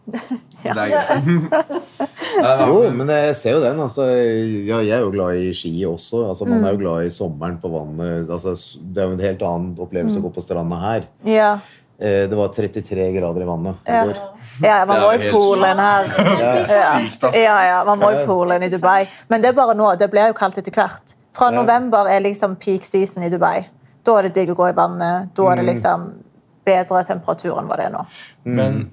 Speaker 3: Det er greit. Nei, da,
Speaker 6: Jo,
Speaker 3: men-
Speaker 6: men jeg ser jo den. Altså, ja, jeg er jo glad i ski også. Altså, man
Speaker 5: Mm.
Speaker 6: er jo glad i sommeren på vannet. Altså, s- det er jo en helt annen
Speaker 5: Mm.
Speaker 6: opplevelse å gå på stranda her.
Speaker 5: ja.
Speaker 6: Eh, Det var 33 grader i vannet i
Speaker 5: Ja.
Speaker 6: går.
Speaker 5: Ja, man
Speaker 3: Det er
Speaker 5: må
Speaker 3: jo
Speaker 5: i
Speaker 3: helt
Speaker 5: poolen her. Ja.
Speaker 4: Sykt bra.
Speaker 5: ja, ja, man må i
Speaker 6: Ja.
Speaker 5: poolen i Dubai. Men det er bare nå. Det blir jo kaldt etter hvert. Fra november er liksom peak season i Dubai. Da er det digg å gå i vannet. Da er det liksom bedre temperatur enn hva det er nå.
Speaker 6: Mm,
Speaker 4: Men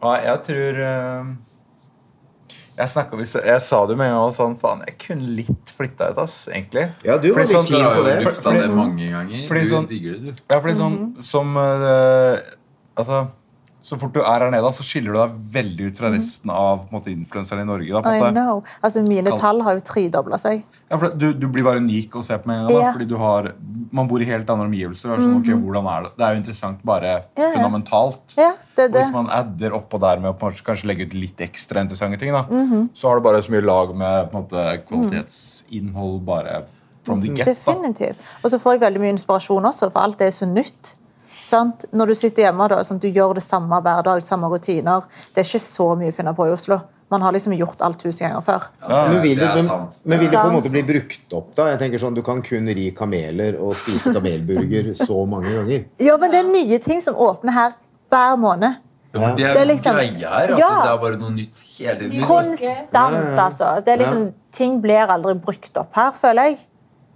Speaker 4: ja, jeg tror eh, jeg, snakket, vi sa- jeg sa det jo med en gang og sånn Faen, jeg kunne litt flytta ut, ass, egentlig.
Speaker 6: Ja, du var
Speaker 4: Fordi
Speaker 6: litt
Speaker 4: sånn-
Speaker 6: keen
Speaker 3: Du har
Speaker 6: på
Speaker 3: jo
Speaker 6: det.
Speaker 3: lufta
Speaker 4: fordi-
Speaker 3: det mange ganger.
Speaker 4: fordi
Speaker 3: du
Speaker 4: sånn-
Speaker 3: digger det, du.
Speaker 4: Ja, fordi sånn
Speaker 5: Mhm.
Speaker 4: som eh, Altså, så fort du er her nede, da, så skiller du deg veldig ut
Speaker 5: Mhm.
Speaker 4: fra resten av på en måte, influenserne i Norge. Da, på
Speaker 5: I
Speaker 4: en måte.
Speaker 5: know. Altså, mine tall har jo tredobla seg.
Speaker 4: Ja, for du, du blir bare unik å se på med en gang. Da,
Speaker 5: Ja. Mhm.
Speaker 4: Fordi du har, man bor i helt andre omgivelser. Og er sånn, ok, hvordan er det? det er jo interessant bare
Speaker 5: Ja, ja.
Speaker 4: fundamentalt.
Speaker 5: Ja, det er det.
Speaker 4: Og hvis man adder oppå der med å på en måte kanskje legge ut litt ekstra interessante ting, da,
Speaker 5: Mhm.
Speaker 4: så har du bare så mye lag med på en måte, kvalitetsinnhold bare from the get. Da.
Speaker 5: Definitivt. Og så får jeg veldig mye inspirasjon også, for alt det er så nytt. Sant? Når du sitter hjemme, da, sant? du gjør det samme hver dag, samme rutiner. Det er ikke så mye å finne på i Oslo. Man har liksom gjort alt tusen ganger før.
Speaker 4: Ja,
Speaker 6: Men vil,
Speaker 3: det
Speaker 6: det,
Speaker 3: er
Speaker 6: men,
Speaker 3: sant.
Speaker 6: men vil det på en
Speaker 5: Sant.
Speaker 6: måte bli brukt opp, da? Jeg tenker sånn, Du kan kun ri kameler og spise kamelburger så mange ganger.
Speaker 5: Ja, men det er nye ting som åpner her hver måned.
Speaker 3: Ja, for det er
Speaker 5: Det er
Speaker 3: liksom
Speaker 5: liksom-
Speaker 3: greia her. At
Speaker 5: Ja.
Speaker 3: det er bare noe nytt hele tiden. Liksom.
Speaker 5: Konstant, altså. Det er liksom, ting blir aldri brukt opp her, føler jeg.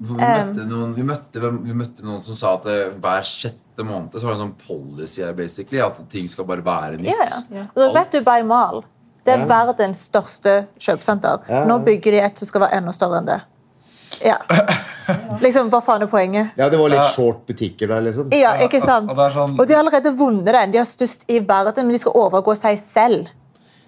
Speaker 3: Vi
Speaker 5: eh.
Speaker 3: møtte, noen, vi, møtte, hvem- vi møtte noen som sa at eh, hver sjette måned så var det en sånn policy her, basically. At ting skal bare være nytt.
Speaker 5: Ja, ja. Og da vet du Bay Mall. Det er verdens største kjøpesenter.
Speaker 6: Ja.
Speaker 5: Nå bygger de et som skal være enda større enn det. Ja. Liksom, Hva faen er poenget?
Speaker 6: Ja, Det var
Speaker 4: Ja.
Speaker 6: litt short butikker der, liksom.
Speaker 5: Ja, ikke sant?
Speaker 4: Og det er sånn-
Speaker 5: Og de har allerede vunnet den. De har størst i verden, men de skal overgå seg selv.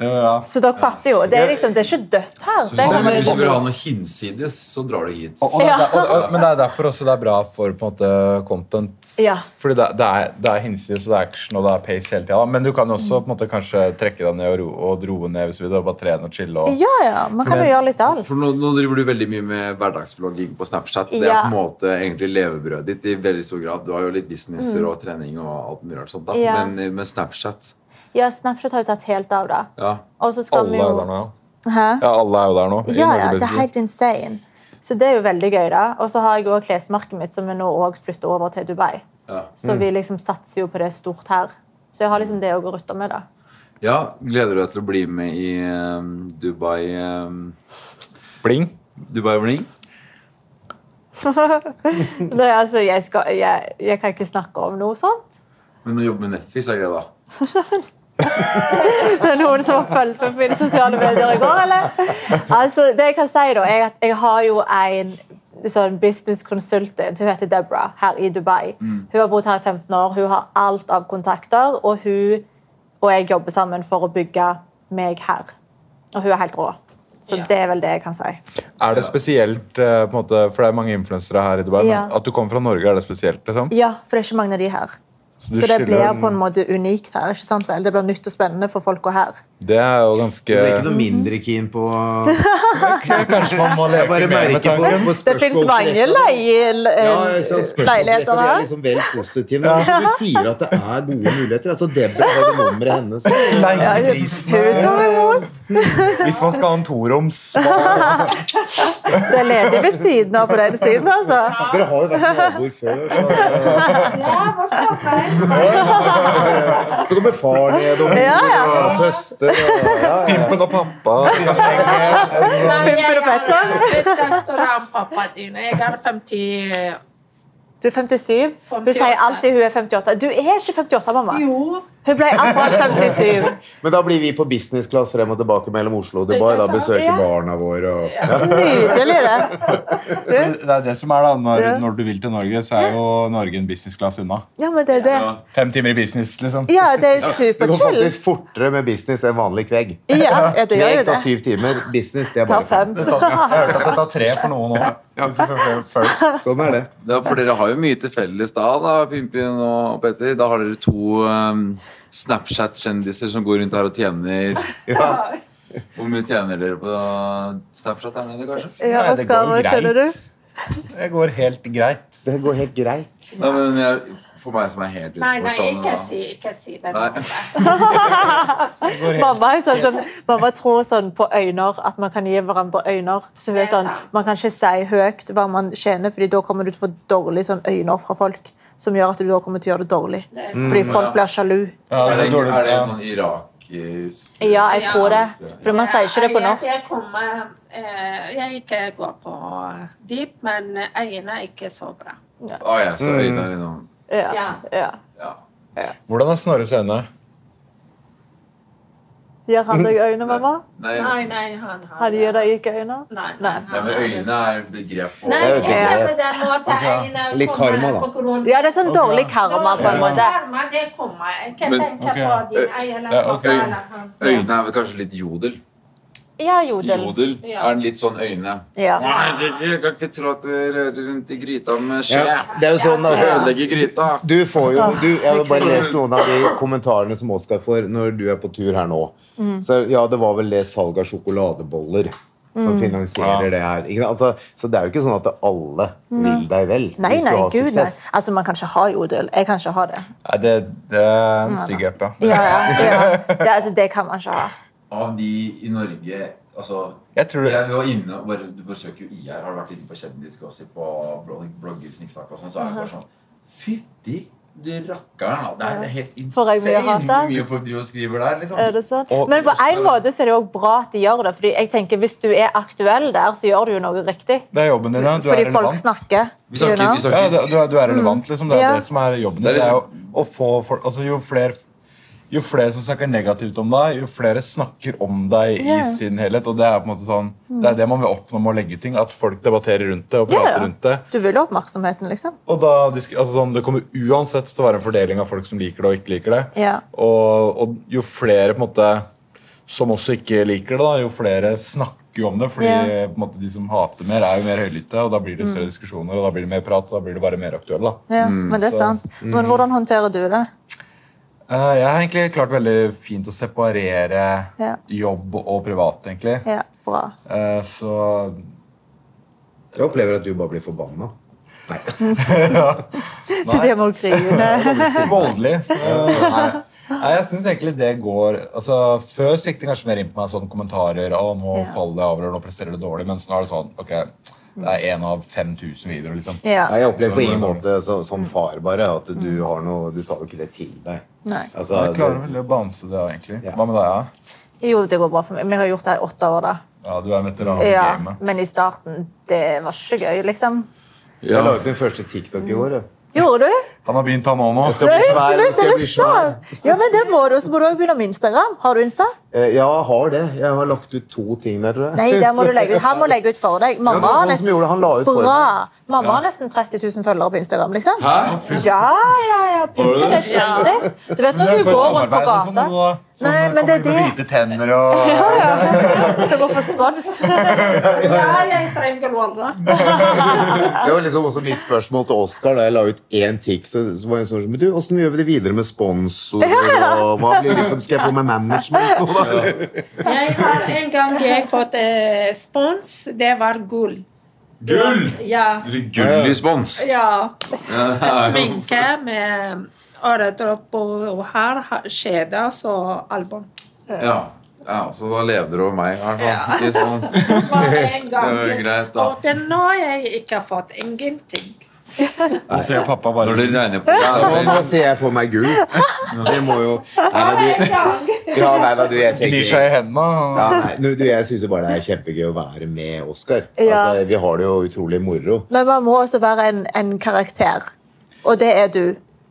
Speaker 4: Ja, ja.
Speaker 5: Så dere fatter jo. Det er, liksom, det er ikke dødt her.
Speaker 3: Så
Speaker 5: Det
Speaker 3: hvis,
Speaker 5: er
Speaker 3: du- hvis du
Speaker 5: liksom,
Speaker 3: vil ha noe hinsides, så drar du hit.
Speaker 4: Og, og, det- og, og, men det er derfor også det er bra for på en måte, content.
Speaker 5: Ja.
Speaker 4: Fordi det, det er, det er hinsides, og det er action og det er pace hele tida. Men du kan jo også på en måte, kanskje trekke deg ned og, ro, og roe ned hvis du vil, og bare trene og chille. Og,
Speaker 5: ja, ja. Man kan jo gjøre litt av alt.
Speaker 3: For nå, nå driver du veldig mye med hverdagsvlogging på Snapchat. Det er
Speaker 5: Ja.
Speaker 3: på en måte egentlig levebrødet ditt i veldig stor grad. Du har jo litt businesser og trening og alt mulig rart sånt, da.
Speaker 5: Mm. Ja.
Speaker 3: Men eh, med Snapchat
Speaker 5: Ja, Snapchat har jo tatt helt av, da.
Speaker 3: ja.
Speaker 5: Og så skal
Speaker 4: alle
Speaker 5: vi
Speaker 4: er jo der
Speaker 5: jo
Speaker 4: nå.
Speaker 5: Hæ?
Speaker 4: Ja, alle er jo der nå. i
Speaker 5: Ja,
Speaker 4: Norge,
Speaker 5: ja, det er
Speaker 4: basically.
Speaker 5: helt insane. Så det er jo veldig gøy, da. Og så har jeg òg klesmerket mitt, som vi nå òg flytter over til Dubai.
Speaker 3: Ja.
Speaker 5: Så vi liksom satser jo på det stort her. Så jeg har liksom det å gå og rutte med, da.
Speaker 3: ja. Gleder du deg til å bli med i eh, Dubai um,
Speaker 4: Bling.
Speaker 3: Dubai Bling?
Speaker 5: Nei, altså, jeg, skal, jeg, jeg kan ikke snakke om noe sånt.
Speaker 3: Men å jobbe med Netflix er greia, da.
Speaker 5: Det er noen som har fulgt med på mine sosiale medier i går, eller? Altså, det jeg kan si, da, er at jeg har jo en sånn business consultant, hun heter Deborah, her i Dubai. Hun har bodd her i 15 år, hun har alt av kontakter, og hun og jeg jobber sammen for å bygge meg her. Og hun er helt rå. Så det er vel det jeg kan si.
Speaker 4: Er det spesielt, eh, på en måte, for det er mange influensere her i Dubai,
Speaker 5: Ja.
Speaker 4: men at du kommer fra Norge, er det spesielt? liksom?
Speaker 5: Ja, for det er ikke mange av de her.
Speaker 4: du
Speaker 5: Så det
Speaker 4: skylder
Speaker 5: blir
Speaker 4: den-
Speaker 5: på en måte unikt her. ikke sant vel? Det blir nytt og spennende for folk å her.
Speaker 4: Det er jo
Speaker 6: Du
Speaker 4: ganske
Speaker 6: er ikke noe mindre keen på
Speaker 4: Kanskje man må
Speaker 6: Jeg
Speaker 4: leke
Speaker 6: bare
Speaker 4: mer med
Speaker 6: merker på,
Speaker 4: tanken.
Speaker 6: på
Speaker 5: Det fins
Speaker 6: spørsmålsrekka.
Speaker 5: mange
Speaker 6: Ja,
Speaker 5: eh,
Speaker 6: jeg ser
Speaker 5: leieleiligheter
Speaker 6: spørsmålsrekka, de er
Speaker 5: her.
Speaker 6: liksom vel positive. Men altså, du sier at det er gode muligheter. Altså, Debra har jo nummeret hennes.
Speaker 5: Hun
Speaker 4: Leieprisene
Speaker 5: tar imot.
Speaker 4: Hvis man skal ha en toroms
Speaker 5: Det er ledig ved siden av på den siden, altså.
Speaker 6: Dere har jo vært naboer før. Så,
Speaker 7: Ja, hvorfor meg?
Speaker 6: eh, så kommer far ned, og mor
Speaker 5: Ja, ja.
Speaker 6: og søster og ja, ja.
Speaker 4: Pimpen og pappa.
Speaker 5: Pimper og fetter.
Speaker 7: Restauranpappa din. Jeg er 50
Speaker 5: Du er 57. Hun sier alltid hun er 58. Du er ikke 58, mamma.
Speaker 7: Jo,
Speaker 5: Hun ble akkurat 57.
Speaker 6: Men da blir vi på business class frem og tilbake mellom Oslo og Dubai. Da besøker
Speaker 5: Ja.
Speaker 6: barna våre og
Speaker 5: Nydelig, det.
Speaker 4: Men Det er det som er, da. Når, når du vil til Norge, så er jo Norge en business class unna.
Speaker 5: Ja, men det er det.
Speaker 4: Fem timer i business, liksom.
Speaker 5: Ja, det er
Speaker 6: Det går
Speaker 5: superchill.
Speaker 6: faktisk fortere med business enn vanlig kvegg.
Speaker 5: Ja, ja, det gjør
Speaker 6: Kvegg
Speaker 5: jo
Speaker 6: tar
Speaker 5: det.
Speaker 6: syv timer, business det er
Speaker 5: Ta
Speaker 6: bare
Speaker 5: fem.
Speaker 4: altså. Det tar, jeg har hørt at det tar tre for noen òg.
Speaker 6: fem. Sånn er det.
Speaker 3: Ja, for dere har jo mye til felles da, da Pimpin og Petter. Da har dere to ehm, Snapchat-kjendiser som går rundt her og tjener. Hvor mye tjener dere på Snapchat der nede, kanskje?
Speaker 5: Ja,
Speaker 4: Nei,
Speaker 5: hva
Speaker 4: det
Speaker 5: skal
Speaker 4: går
Speaker 5: man,
Speaker 4: greit.
Speaker 5: skjønner du?
Speaker 4: Det går helt greit.
Speaker 6: Det går helt greit.
Speaker 3: Nei, men jeg, for meg som er helt
Speaker 7: Nei, nei,
Speaker 3: utenforstående,
Speaker 7: ikke
Speaker 3: da.
Speaker 7: si, ikke si det.
Speaker 3: Nei.
Speaker 5: Mamma, er sånn, som- mamma tror sånn på øyner, at man kan gi hverandre øyner. Så hun er
Speaker 7: Det er
Speaker 5: sånn,
Speaker 7: sant.
Speaker 5: man kan ikke si høyt hva man tjener, fordi da kommer du til å få dårlige sånn øyner fra folk. Som gjør at du da kommer til å gjøre det dårlig.
Speaker 7: er
Speaker 3: Mm.
Speaker 7: sant.
Speaker 4: Mm,
Speaker 5: Fordi folk blir sjalu.
Speaker 4: Ja,
Speaker 3: Er
Speaker 4: det
Speaker 3: det,
Speaker 4: er dårlig.
Speaker 3: er det
Speaker 4: ja.
Speaker 3: sånn irakisk
Speaker 5: Ja, jeg
Speaker 7: Ja.
Speaker 5: tror det. For man sier ikke det på
Speaker 7: Jeg-
Speaker 5: norsk.
Speaker 7: Jeg kommer eh, Jeg ikke går på deep, men øynene er ikke så bra.
Speaker 3: Å Ah, ja,
Speaker 4: Mm.
Speaker 3: så øynene er litt sånn
Speaker 5: Ja,
Speaker 7: Ja.
Speaker 5: ja.
Speaker 3: Ja.
Speaker 4: Hvordan er Snorres øyne?
Speaker 5: Gir han deg øyne, mamma?
Speaker 3: Nei,
Speaker 7: Nei, nei, han har
Speaker 5: Han gir deg ikke øyne?
Speaker 7: Nei.
Speaker 5: Nei.
Speaker 3: nei, men øynene er et begrep på
Speaker 7: Nei,
Speaker 6: Det er jo
Speaker 7: ikke
Speaker 6: ikke
Speaker 7: det på den måten.
Speaker 4: Ok.
Speaker 7: Øynene
Speaker 6: Litt
Speaker 7: kommer
Speaker 6: karma, da.
Speaker 7: på grunn-
Speaker 5: Ja, det er sånn dårlig karma på en måte.
Speaker 7: Karma, det kommer. Jeg kan
Speaker 3: Men-
Speaker 7: tenke
Speaker 4: ok.
Speaker 7: på din egen
Speaker 4: Ja, ok.
Speaker 3: Øynene er vel kanskje litt jodel.
Speaker 5: Ja, jodel.
Speaker 3: Jodel
Speaker 7: Ja.
Speaker 3: er litt sånn øyne.
Speaker 5: Ja.
Speaker 3: Nei, jeg jeg kan ikke tro at du rører rundt i gryta med skje.
Speaker 6: Ja, det er jo sånn,
Speaker 3: Jeg
Speaker 6: altså.
Speaker 3: Ødelegger gryta.
Speaker 6: Du får jo, du, jeg har bare lest noen av de kommentarene som Oskar får når du er på tur her nå.
Speaker 5: Mm.
Speaker 6: Så ja, det var vel det salget av sjokoladeboller
Speaker 5: Mm.
Speaker 6: som finansierer
Speaker 4: Ja.
Speaker 6: det her. Ikke, sant? altså, så det er jo ikke sånn at alle vil deg vel.
Speaker 5: Nei,
Speaker 6: hvis du
Speaker 5: nei,
Speaker 6: har
Speaker 5: gud, nei.
Speaker 6: suksess.
Speaker 5: Altså, man kan ikke ha jodel. Jeg kan ikke ha det.
Speaker 4: Nei, det, det er en stygg app, ja.
Speaker 5: Ja, ja, ja. ja altså, det kan man ikke ha.
Speaker 3: Av de i Norge Altså
Speaker 4: Jeg tror
Speaker 3: jeg var inne og bare, Du besøker jo IR, har vært inne på kjendisgossip og blog- blogger, snikksnakk og sånn, så er det bare sånn Fytti de rakkeren, da. Det er- det er helt
Speaker 5: Får jeg mye
Speaker 3: insane
Speaker 5: hat
Speaker 3: hvor
Speaker 5: der?
Speaker 3: mye folk driver og skriver der, liksom.
Speaker 5: Er det sånn?
Speaker 4: Og-
Speaker 5: Men på en måte så er det jo bra at de gjør det. Fordi jeg tenker, Hvis du er aktuell der, så gjør du jo noe riktig.
Speaker 4: det er jobben din, ja. Du er
Speaker 5: Fordi folk
Speaker 4: relevant.
Speaker 5: snakker.
Speaker 3: Vi
Speaker 5: you
Speaker 3: snakker, vi
Speaker 5: know?
Speaker 4: Ja,
Speaker 3: snakker
Speaker 4: det, du, er, du er relevant, liksom. Det er
Speaker 5: Ja.
Speaker 4: det som er jobben
Speaker 3: Det er liksom
Speaker 4: din. Det er jo, å få folk, altså, jo flere jo flere som snakker negativt om deg, jo flere snakker om deg
Speaker 5: Ja.
Speaker 4: i sin helhet. og Det er på en måte sånn, det er det man vil oppnå med å legge ting. At folk debatterer rundt det og
Speaker 5: Ja,
Speaker 4: prater
Speaker 5: ja.
Speaker 4: rundt det.
Speaker 5: Du vil ha oppmerksomheten, liksom.
Speaker 4: Og da, disk- altså sånn, Det kommer uansett til å være en fordeling av folk som liker det og ikke liker det.
Speaker 5: Ja.
Speaker 4: Og, og jo flere på en måte, som også ikke liker det, da, jo flere snakker jo om det. fordi
Speaker 5: Ja.
Speaker 4: på en måte, de som hater mer, er jo mer høylytte, og da blir det
Speaker 5: Mm.
Speaker 4: større diskusjoner og da blir det mer prat. og da blir det bare mer aktuelt. da.
Speaker 5: Ja, men det er
Speaker 4: så-
Speaker 5: sant. Men hvordan håndterer du det?
Speaker 4: Eh, Jeg har egentlig klart veldig fint å separere
Speaker 5: Ja.
Speaker 4: jobb og privat, egentlig.
Speaker 5: Ja, bra.
Speaker 4: Eh, Så
Speaker 6: Jeg opplever at du bare blir forbanna.
Speaker 5: Så det må du grine.
Speaker 4: Voldelig. Eh, Nei, Nei, jeg syns egentlig det går altså, Før så gikk det kanskje mer inn på meg sånn kommentarer. Å, nå
Speaker 5: Ja.
Speaker 4: faller jeg av, eller nå presterer det dårlig. Mens nå er det sånn Ok, det er én av 5000 videoer, liksom.
Speaker 5: Ja. Mm.
Speaker 6: Nei, jeg opplever på ingen måte så, som far bare at du, har noe, du tar jo ikke det til deg.
Speaker 5: Nei.
Speaker 6: Altså,
Speaker 4: Jeg klarer
Speaker 6: det-
Speaker 4: vel å balanse det, egentlig.
Speaker 6: Ja.
Speaker 4: Hva med deg? Ja?
Speaker 5: Jo, det går bra for meg. Vi har gjort det her i åtte år, da.
Speaker 4: Ja, du er en veteran i
Speaker 5: Ja,
Speaker 4: gamet.
Speaker 5: men i starten, det var ikke gøy, liksom.
Speaker 6: Jeg la ut min første TikTok i år. jeg.
Speaker 5: Gjorde du?
Speaker 4: Han har begynt, han òg nå.
Speaker 6: Jeg skal bli svær. Jeg skal bli svær.
Speaker 5: Ja, men det må du. Så må du også begynne med Instagram. Har du Insta?
Speaker 6: Eh, Ja, jeg har det. Jeg har lagt ut to ting der, tror jeg.
Speaker 5: Nei, det må du legge ut. Han må legge ut for deg.
Speaker 6: Ja, det
Speaker 5: Mamma
Speaker 6: var
Speaker 5: har
Speaker 6: noen som
Speaker 5: nesten,
Speaker 6: gjorde det. Han la ut for
Speaker 5: bra.
Speaker 6: meg.
Speaker 5: Mamma har nesten 30 000 følgere på Instagram, liksom.
Speaker 3: Hæ?
Speaker 5: Ja, ja, ja. Pippi er kjendis. Du vet
Speaker 4: Men
Speaker 5: når
Speaker 4: det
Speaker 5: du
Speaker 4: er for
Speaker 5: går rundt på
Speaker 4: samarbeid, liksom,
Speaker 5: gata.
Speaker 4: nå, som
Speaker 5: Nei, men
Speaker 4: kommer
Speaker 5: det er
Speaker 4: med hvite tenner og
Speaker 5: Du må få spons.
Speaker 7: Ja, jeg trenger wallah.
Speaker 6: Det var liksom også mitt spørsmål til Oscar da jeg la ut én tikk. Så, så var jeg sånn, men du, Åssen gjør vi det videre med sponsorer? Og hva blir liksom, Skal jeg få med management nå, da?
Speaker 7: Jeg har en gang jeg fått eh, spons. Det var gull.
Speaker 3: Gull!
Speaker 7: Ja.
Speaker 3: Du fikk gull i spons.
Speaker 7: ja.
Speaker 3: Ja.
Speaker 7: Sminke med øredropp og her, kjede og album.
Speaker 3: ja, så da levde du over meg, i hvert fall. I spons.
Speaker 7: Bare en gang.
Speaker 3: Det var greit, da.
Speaker 7: Og til nå har jeg ikke fått ingenting.
Speaker 4: Og så gjør pappa bare
Speaker 3: Når det regner på
Speaker 6: Og
Speaker 3: seg
Speaker 6: nå ser jeg for meg gull. Det må jo Nei da,
Speaker 7: En
Speaker 6: du,
Speaker 7: gang.
Speaker 6: ja, nei, da, du jeg
Speaker 4: gnir
Speaker 6: tenker
Speaker 4: seg i hendene. og-
Speaker 6: ja, nei, nu- du, Jeg syns jo bare det er kjempegøy å være med Oscar.
Speaker 5: Ja.
Speaker 6: Altså, vi har det jo utrolig moro.
Speaker 5: Men man må også være en, en karakter. Og det er du.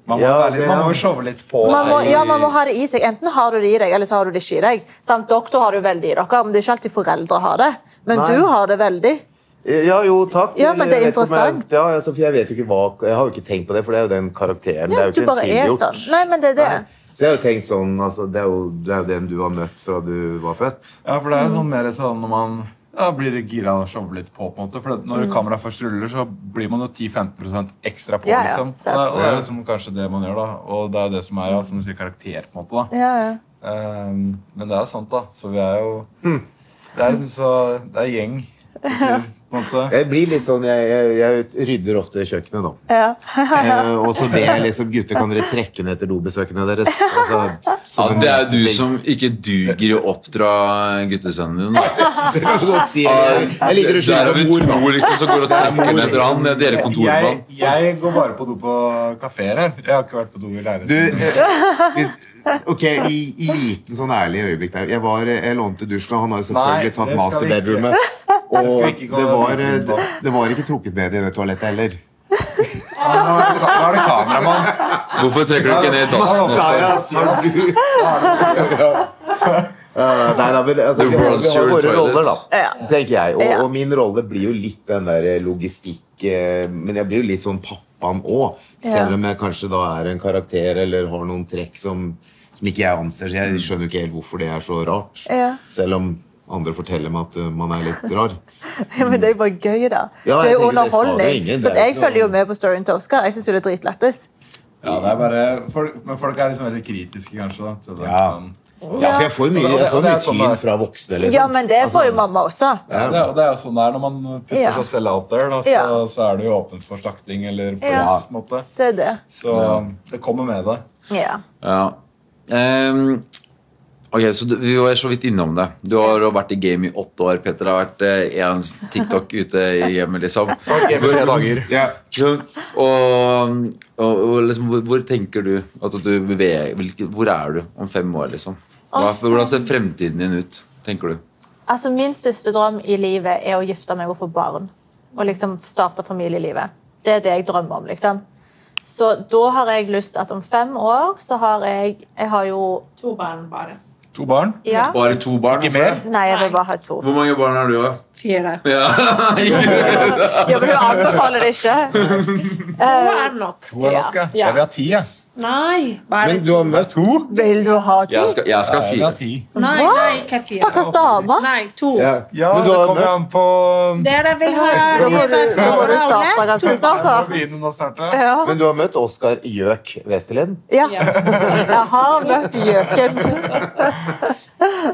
Speaker 4: Man må,
Speaker 6: Ja,
Speaker 4: være litt,
Speaker 6: det-
Speaker 4: man må jo showe litt på
Speaker 5: Man må,
Speaker 4: det i-
Speaker 5: ja, man må ha det i seg. Enten har du det i deg, eller så har du det ikke i deg. Sant? Doktor har det jo veldig i dere, men det er ikke alltid foreldre har det. Men
Speaker 6: Nei.
Speaker 5: du har det veldig.
Speaker 6: Ja, jo, takk.
Speaker 5: Ja, men det er
Speaker 6: Jeg vet ikke om
Speaker 5: interessant.
Speaker 6: Jeg, ja, altså, for jeg vet jo ikke hva Jeg har jo ikke tenkt på det, for det er jo den karakteren. det
Speaker 5: Ja,
Speaker 6: er jo
Speaker 5: du
Speaker 6: ikke
Speaker 5: bare er
Speaker 6: tilgjort.
Speaker 5: sånn. Nei, men det er det.
Speaker 6: Nei. Så jeg har jo tenkt sånn altså, det, er jo, det er jo den du har møtt fra du var født.
Speaker 4: Ja, for
Speaker 5: Mm.
Speaker 4: det er jo sånn mer sånn når man ja, blir gira og shower litt på. på en måte. For at
Speaker 5: Mm.
Speaker 4: når kameraet først ruller, så blir man jo 10-15 ekstra på.
Speaker 5: Ja, ja,
Speaker 4: liksom. Så
Speaker 5: sant.
Speaker 4: det, og det er liksom kanskje det man gjør, da. Og det er det som er ja, som du sier, karakter, på en måte. da.
Speaker 5: Ja, ja.
Speaker 4: Ehm, men det er sant, da. Så vi er jo
Speaker 6: Hmm.
Speaker 4: Det er liksom så Det er gjeng. på tur, På en måte.
Speaker 6: Jeg blir litt sånn, jeg, jeg, jeg rydder ofte kjøkkenet, da.
Speaker 5: Ja.
Speaker 6: Eh, og så ber jeg liksom gutter kan dere trekke ned etter dobesøkene deres. Altså,
Speaker 3: Ja,
Speaker 6: som en-
Speaker 3: det er jo du som ikke duger i å oppdra guttesønnen din. da.
Speaker 6: Godt sier jeg.
Speaker 3: Ah,
Speaker 6: jeg liker å
Speaker 3: Der har
Speaker 6: skylde
Speaker 3: vi
Speaker 6: på mor.
Speaker 3: to liksom, som går og trekker
Speaker 6: mor.
Speaker 3: ned brann. Jeg deler kontorbann.
Speaker 4: Jeg, jeg går bare på do på kafeer her. Jeg har ikke vært på do i
Speaker 6: Du,
Speaker 4: leiligheten.
Speaker 6: eh, hvis, ok, i, i liten sånn ærlig øyeblikk der. Jeg, var, jeg lånte dusjen, og han har jo
Speaker 4: Nei,
Speaker 6: selvfølgelig
Speaker 4: det
Speaker 6: tatt
Speaker 4: skal vi ikke.
Speaker 6: masterbedroomet.
Speaker 4: skal vi
Speaker 6: Og
Speaker 4: ikke gå
Speaker 6: det var,
Speaker 4: videre
Speaker 6: det,
Speaker 4: på.
Speaker 6: det var ikke trukket ned i det toalettet heller.
Speaker 4: Ja, nå er det- nå er det kameramann.
Speaker 3: Hvorfor trekker du ikke ned
Speaker 4: Ja,
Speaker 3: dassen?
Speaker 4: ja.
Speaker 3: Oskar?
Speaker 6: Eh, nei, nei, men altså,
Speaker 3: The
Speaker 6: vi har,
Speaker 3: world's
Speaker 6: vi har
Speaker 3: your
Speaker 6: våre roller,
Speaker 3: toilets.
Speaker 6: da. Tenker jeg. Og,
Speaker 5: Ja.
Speaker 6: og min rolle blir jo litt den der logistikk eh, Men jeg blir jo litt sånn pappaen òg. Selv om jeg kanskje da er en karakter eller har noen trekk som, som ikke jeg anser.
Speaker 4: Mm.
Speaker 6: Jeg skjønner jo ikke helt hvorfor det er så rart.
Speaker 5: Ja.
Speaker 6: Selv om andre forteller meg at eh, man er litt rar.
Speaker 5: Ja, men det er jo bare gøy, da.
Speaker 6: Ja,
Speaker 5: det er jo
Speaker 6: jeg tenker det skader
Speaker 5: underholdning.
Speaker 6: ingen, det
Speaker 5: Så
Speaker 6: er jo
Speaker 5: jeg
Speaker 6: ikke noe-
Speaker 5: følger jo med på storyen til Oskar. Jeg syns jo det er dritlættis.
Speaker 4: Ja, det er bare, folk, men folk er liksom veldig kritiske, kanskje. da. Så det er
Speaker 6: Ja.
Speaker 4: sånn-
Speaker 6: Ja, for jeg får mye, jeg får
Speaker 4: Og det er
Speaker 6: mye
Speaker 4: sånn
Speaker 6: tyn
Speaker 4: det er.
Speaker 6: fra voksne. Liksom.
Speaker 5: Ja, men det får jo mamma også.
Speaker 4: Ja, det, er- og det er jo sånn det er når man putter
Speaker 5: Ja.
Speaker 4: seg selv out there, da, så,
Speaker 5: Ja.
Speaker 4: så er du jo åpen for slakting eller på
Speaker 5: Ja.
Speaker 4: en måte.
Speaker 5: Det er det.
Speaker 4: Så det kommer med det.
Speaker 5: Ja.
Speaker 3: Ja. Ehm, ok, så du, Vi var så vidt innom det. Du har jo vært i game i åtte år. Petter har vært eh, en TikTok ute i hjemmet, liksom.
Speaker 6: Ja.
Speaker 3: Ja, Og, og, og liksom, hvor, hvor tenker du at du beveger hvilke, Hvor er du om fem år, liksom? Hva, hvordan ser fremtiden din ut, tenker du?
Speaker 5: Altså, Min største drøm i livet er å gifte meg og få barn. Og liksom starte familielivet. Det er det jeg drømmer om. liksom. Så da har jeg lyst at om fem år så har jeg Jeg har jo
Speaker 7: To barn bare.
Speaker 4: To barn.
Speaker 5: Ja.
Speaker 3: Bare to barn?
Speaker 4: Ikke mer?
Speaker 5: Nei, jeg vil bare ha to.
Speaker 3: Hvor mange barn har du, da?
Speaker 7: Fire.
Speaker 3: Ja.
Speaker 5: Ja, men Hun anbefaler det ikke.
Speaker 7: To er nok.
Speaker 4: To er nok, ja.
Speaker 7: Ja.
Speaker 4: Jeg vil ha ti, jeg.
Speaker 7: Nei, bare
Speaker 6: Men du har møtt
Speaker 4: To?
Speaker 5: Vil du ha
Speaker 3: Jeg skal, jeg skal ha
Speaker 4: Jeg vil ha
Speaker 3: fire.
Speaker 4: ti.
Speaker 7: Nei, nei, ikke fire.
Speaker 5: Stakkars damer.
Speaker 7: Nei, to.
Speaker 6: ja.
Speaker 4: Ja,
Speaker 6: Men du
Speaker 4: det
Speaker 6: har
Speaker 4: kommer
Speaker 6: møtt
Speaker 4: an på
Speaker 7: Dere vil ha
Speaker 5: Da må du, da må du starte ganske snart.
Speaker 4: Nå
Speaker 5: da.
Speaker 4: begynner den å starte.
Speaker 5: Ja.
Speaker 6: men du har møtt Oskar Gjøk Westerlin.
Speaker 5: ja. Jeg har møtt gjøken.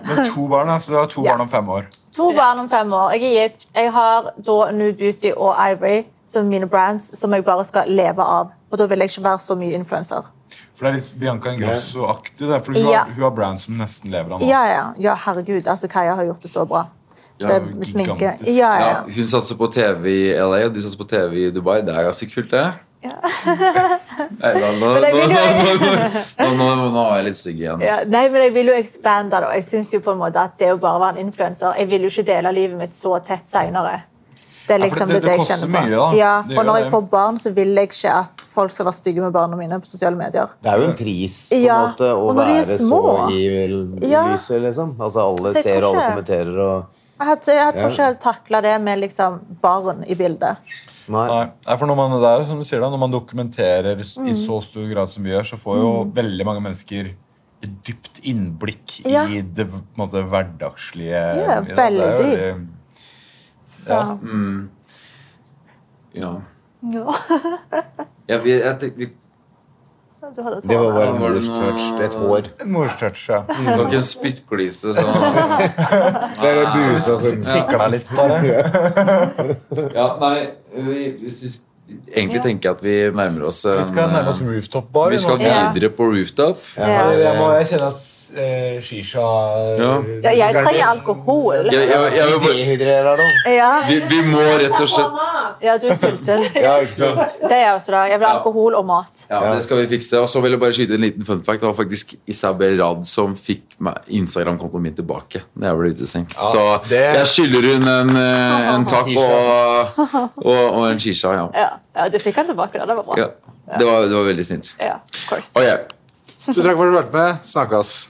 Speaker 4: Men to barn, altså. Du har to
Speaker 5: Ja.
Speaker 4: barn om fem år.
Speaker 5: To barn om fem år. Jeg er gift. Jeg har da New Beauty og Ivory som mine brands som jeg bare skal leve av. Og da vil jeg ikke være så mye influenser.
Speaker 4: For det er litt Bianca Ingrosso-aktig. det er fordi Hun,
Speaker 5: Ja.
Speaker 4: har- hun har brand som nesten lever av nå.
Speaker 5: Ja, ja. ja herregud. altså Kaja har gjort det så bra.
Speaker 4: det
Speaker 5: Det
Speaker 4: er jo
Speaker 5: sminke. Ja,
Speaker 4: gigantisk.
Speaker 5: ja.
Speaker 3: Ja, hun satser på TV i LA, og du satser på TV i Dubai. Det er ganske kult, det. Nei, nå, nå,
Speaker 5: Men
Speaker 3: nå,
Speaker 5: jeg vil
Speaker 3: nå,
Speaker 5: jo-
Speaker 3: nå, nå, nå, nå er jeg litt stygg igjen.
Speaker 5: ja. Nei, men jeg vil jo expande da. Jeg synes jo på en måte at det å bare være en influenser Jeg vil jo ikke dele livet mitt så tett senere. Det er
Speaker 4: for
Speaker 5: liksom det,
Speaker 4: det-
Speaker 5: det,
Speaker 4: det
Speaker 5: jeg
Speaker 4: koster
Speaker 5: kjenner på.
Speaker 4: mye, da.
Speaker 5: ja,
Speaker 4: Det
Speaker 5: og
Speaker 4: gjør
Speaker 5: når jeg
Speaker 4: det.
Speaker 5: får barn, så vil jeg ikke at folk skal være stygge med barna mine på sosiale medier.
Speaker 6: Det er jo en pris på en
Speaker 5: Ja,
Speaker 6: måte, å
Speaker 5: og når de er
Speaker 6: være så
Speaker 5: små.
Speaker 6: i
Speaker 5: Ja.
Speaker 6: lyset, liksom. Altså, alle
Speaker 5: Så jeg tror
Speaker 6: ser og alle
Speaker 5: ikke-
Speaker 6: kommenterer og
Speaker 5: Jeg, had, jeg tror ikke jeg hadde takla det med liksom barn i bildet.
Speaker 6: Nei.
Speaker 4: Nei, nei, for når man, det er jo som du sier da, når man dokumenterer s-
Speaker 5: Mm.
Speaker 4: i så stor grad som vi gjør, så får jo veldig mange mennesker et dypt innblikk
Speaker 5: Ja.
Speaker 4: i det på en måte, hverdagslige.
Speaker 5: Ja,
Speaker 4: i det. Det er jo
Speaker 5: veldig.
Speaker 4: veldig-
Speaker 5: Så.
Speaker 4: Ja.
Speaker 3: Ja.
Speaker 5: Ja.
Speaker 3: Jeg, jeg, jeg, tenk- vi-
Speaker 5: Du hadde
Speaker 6: Det var
Speaker 5: tårer.
Speaker 6: bare en
Speaker 3: Var det
Speaker 6: morstouch.
Speaker 3: noe-
Speaker 6: Et hår.
Speaker 4: En morstouch, ja.
Speaker 3: det var ikke en spyttglise. Så.
Speaker 6: Det er det busa som
Speaker 4: Sikla deg litt, bare.
Speaker 3: Ja, nei, vi, hvis vi, egentlig tenker jeg at vi nærmer oss en,
Speaker 4: Vi skal nærme oss
Speaker 3: eh,
Speaker 4: rooftop bar.
Speaker 3: Vi skal
Speaker 5: Ja.
Speaker 3: videre på rooftop.
Speaker 5: Ja.
Speaker 4: Jeg, må, jeg kjenner at eh, shisha
Speaker 3: Ja.
Speaker 5: Ja, jeg trenger alkohol.
Speaker 3: Jeg, jeg, jeg, vil bare-
Speaker 6: Dehydrerer deg.
Speaker 5: Ja,
Speaker 3: vi, vi må rett og slett
Speaker 5: ja du er sulten.
Speaker 6: Ja, ikke sant?
Speaker 5: Det er jeg også. da. Jeg vil ha alkohol og mat.
Speaker 3: Ja, det skal vi fikse. Og så vil jeg bare skyte en liten fun fact. Det var faktisk Isabel Rad som fikk meg- Instagram-kontoen min tilbake. Når jeg ble utestengt. så
Speaker 4: det-
Speaker 3: jeg skylder hun en, eh, en takk og, og, og en shisha, ja.
Speaker 5: Ja, ja Du fikk den tilbake, da. Det var bra.
Speaker 3: ja. Det var, det var veldig snilt.
Speaker 5: Ja, of course.
Speaker 3: Ok,
Speaker 8: Tusen takk for at du hørte med. Snakkes.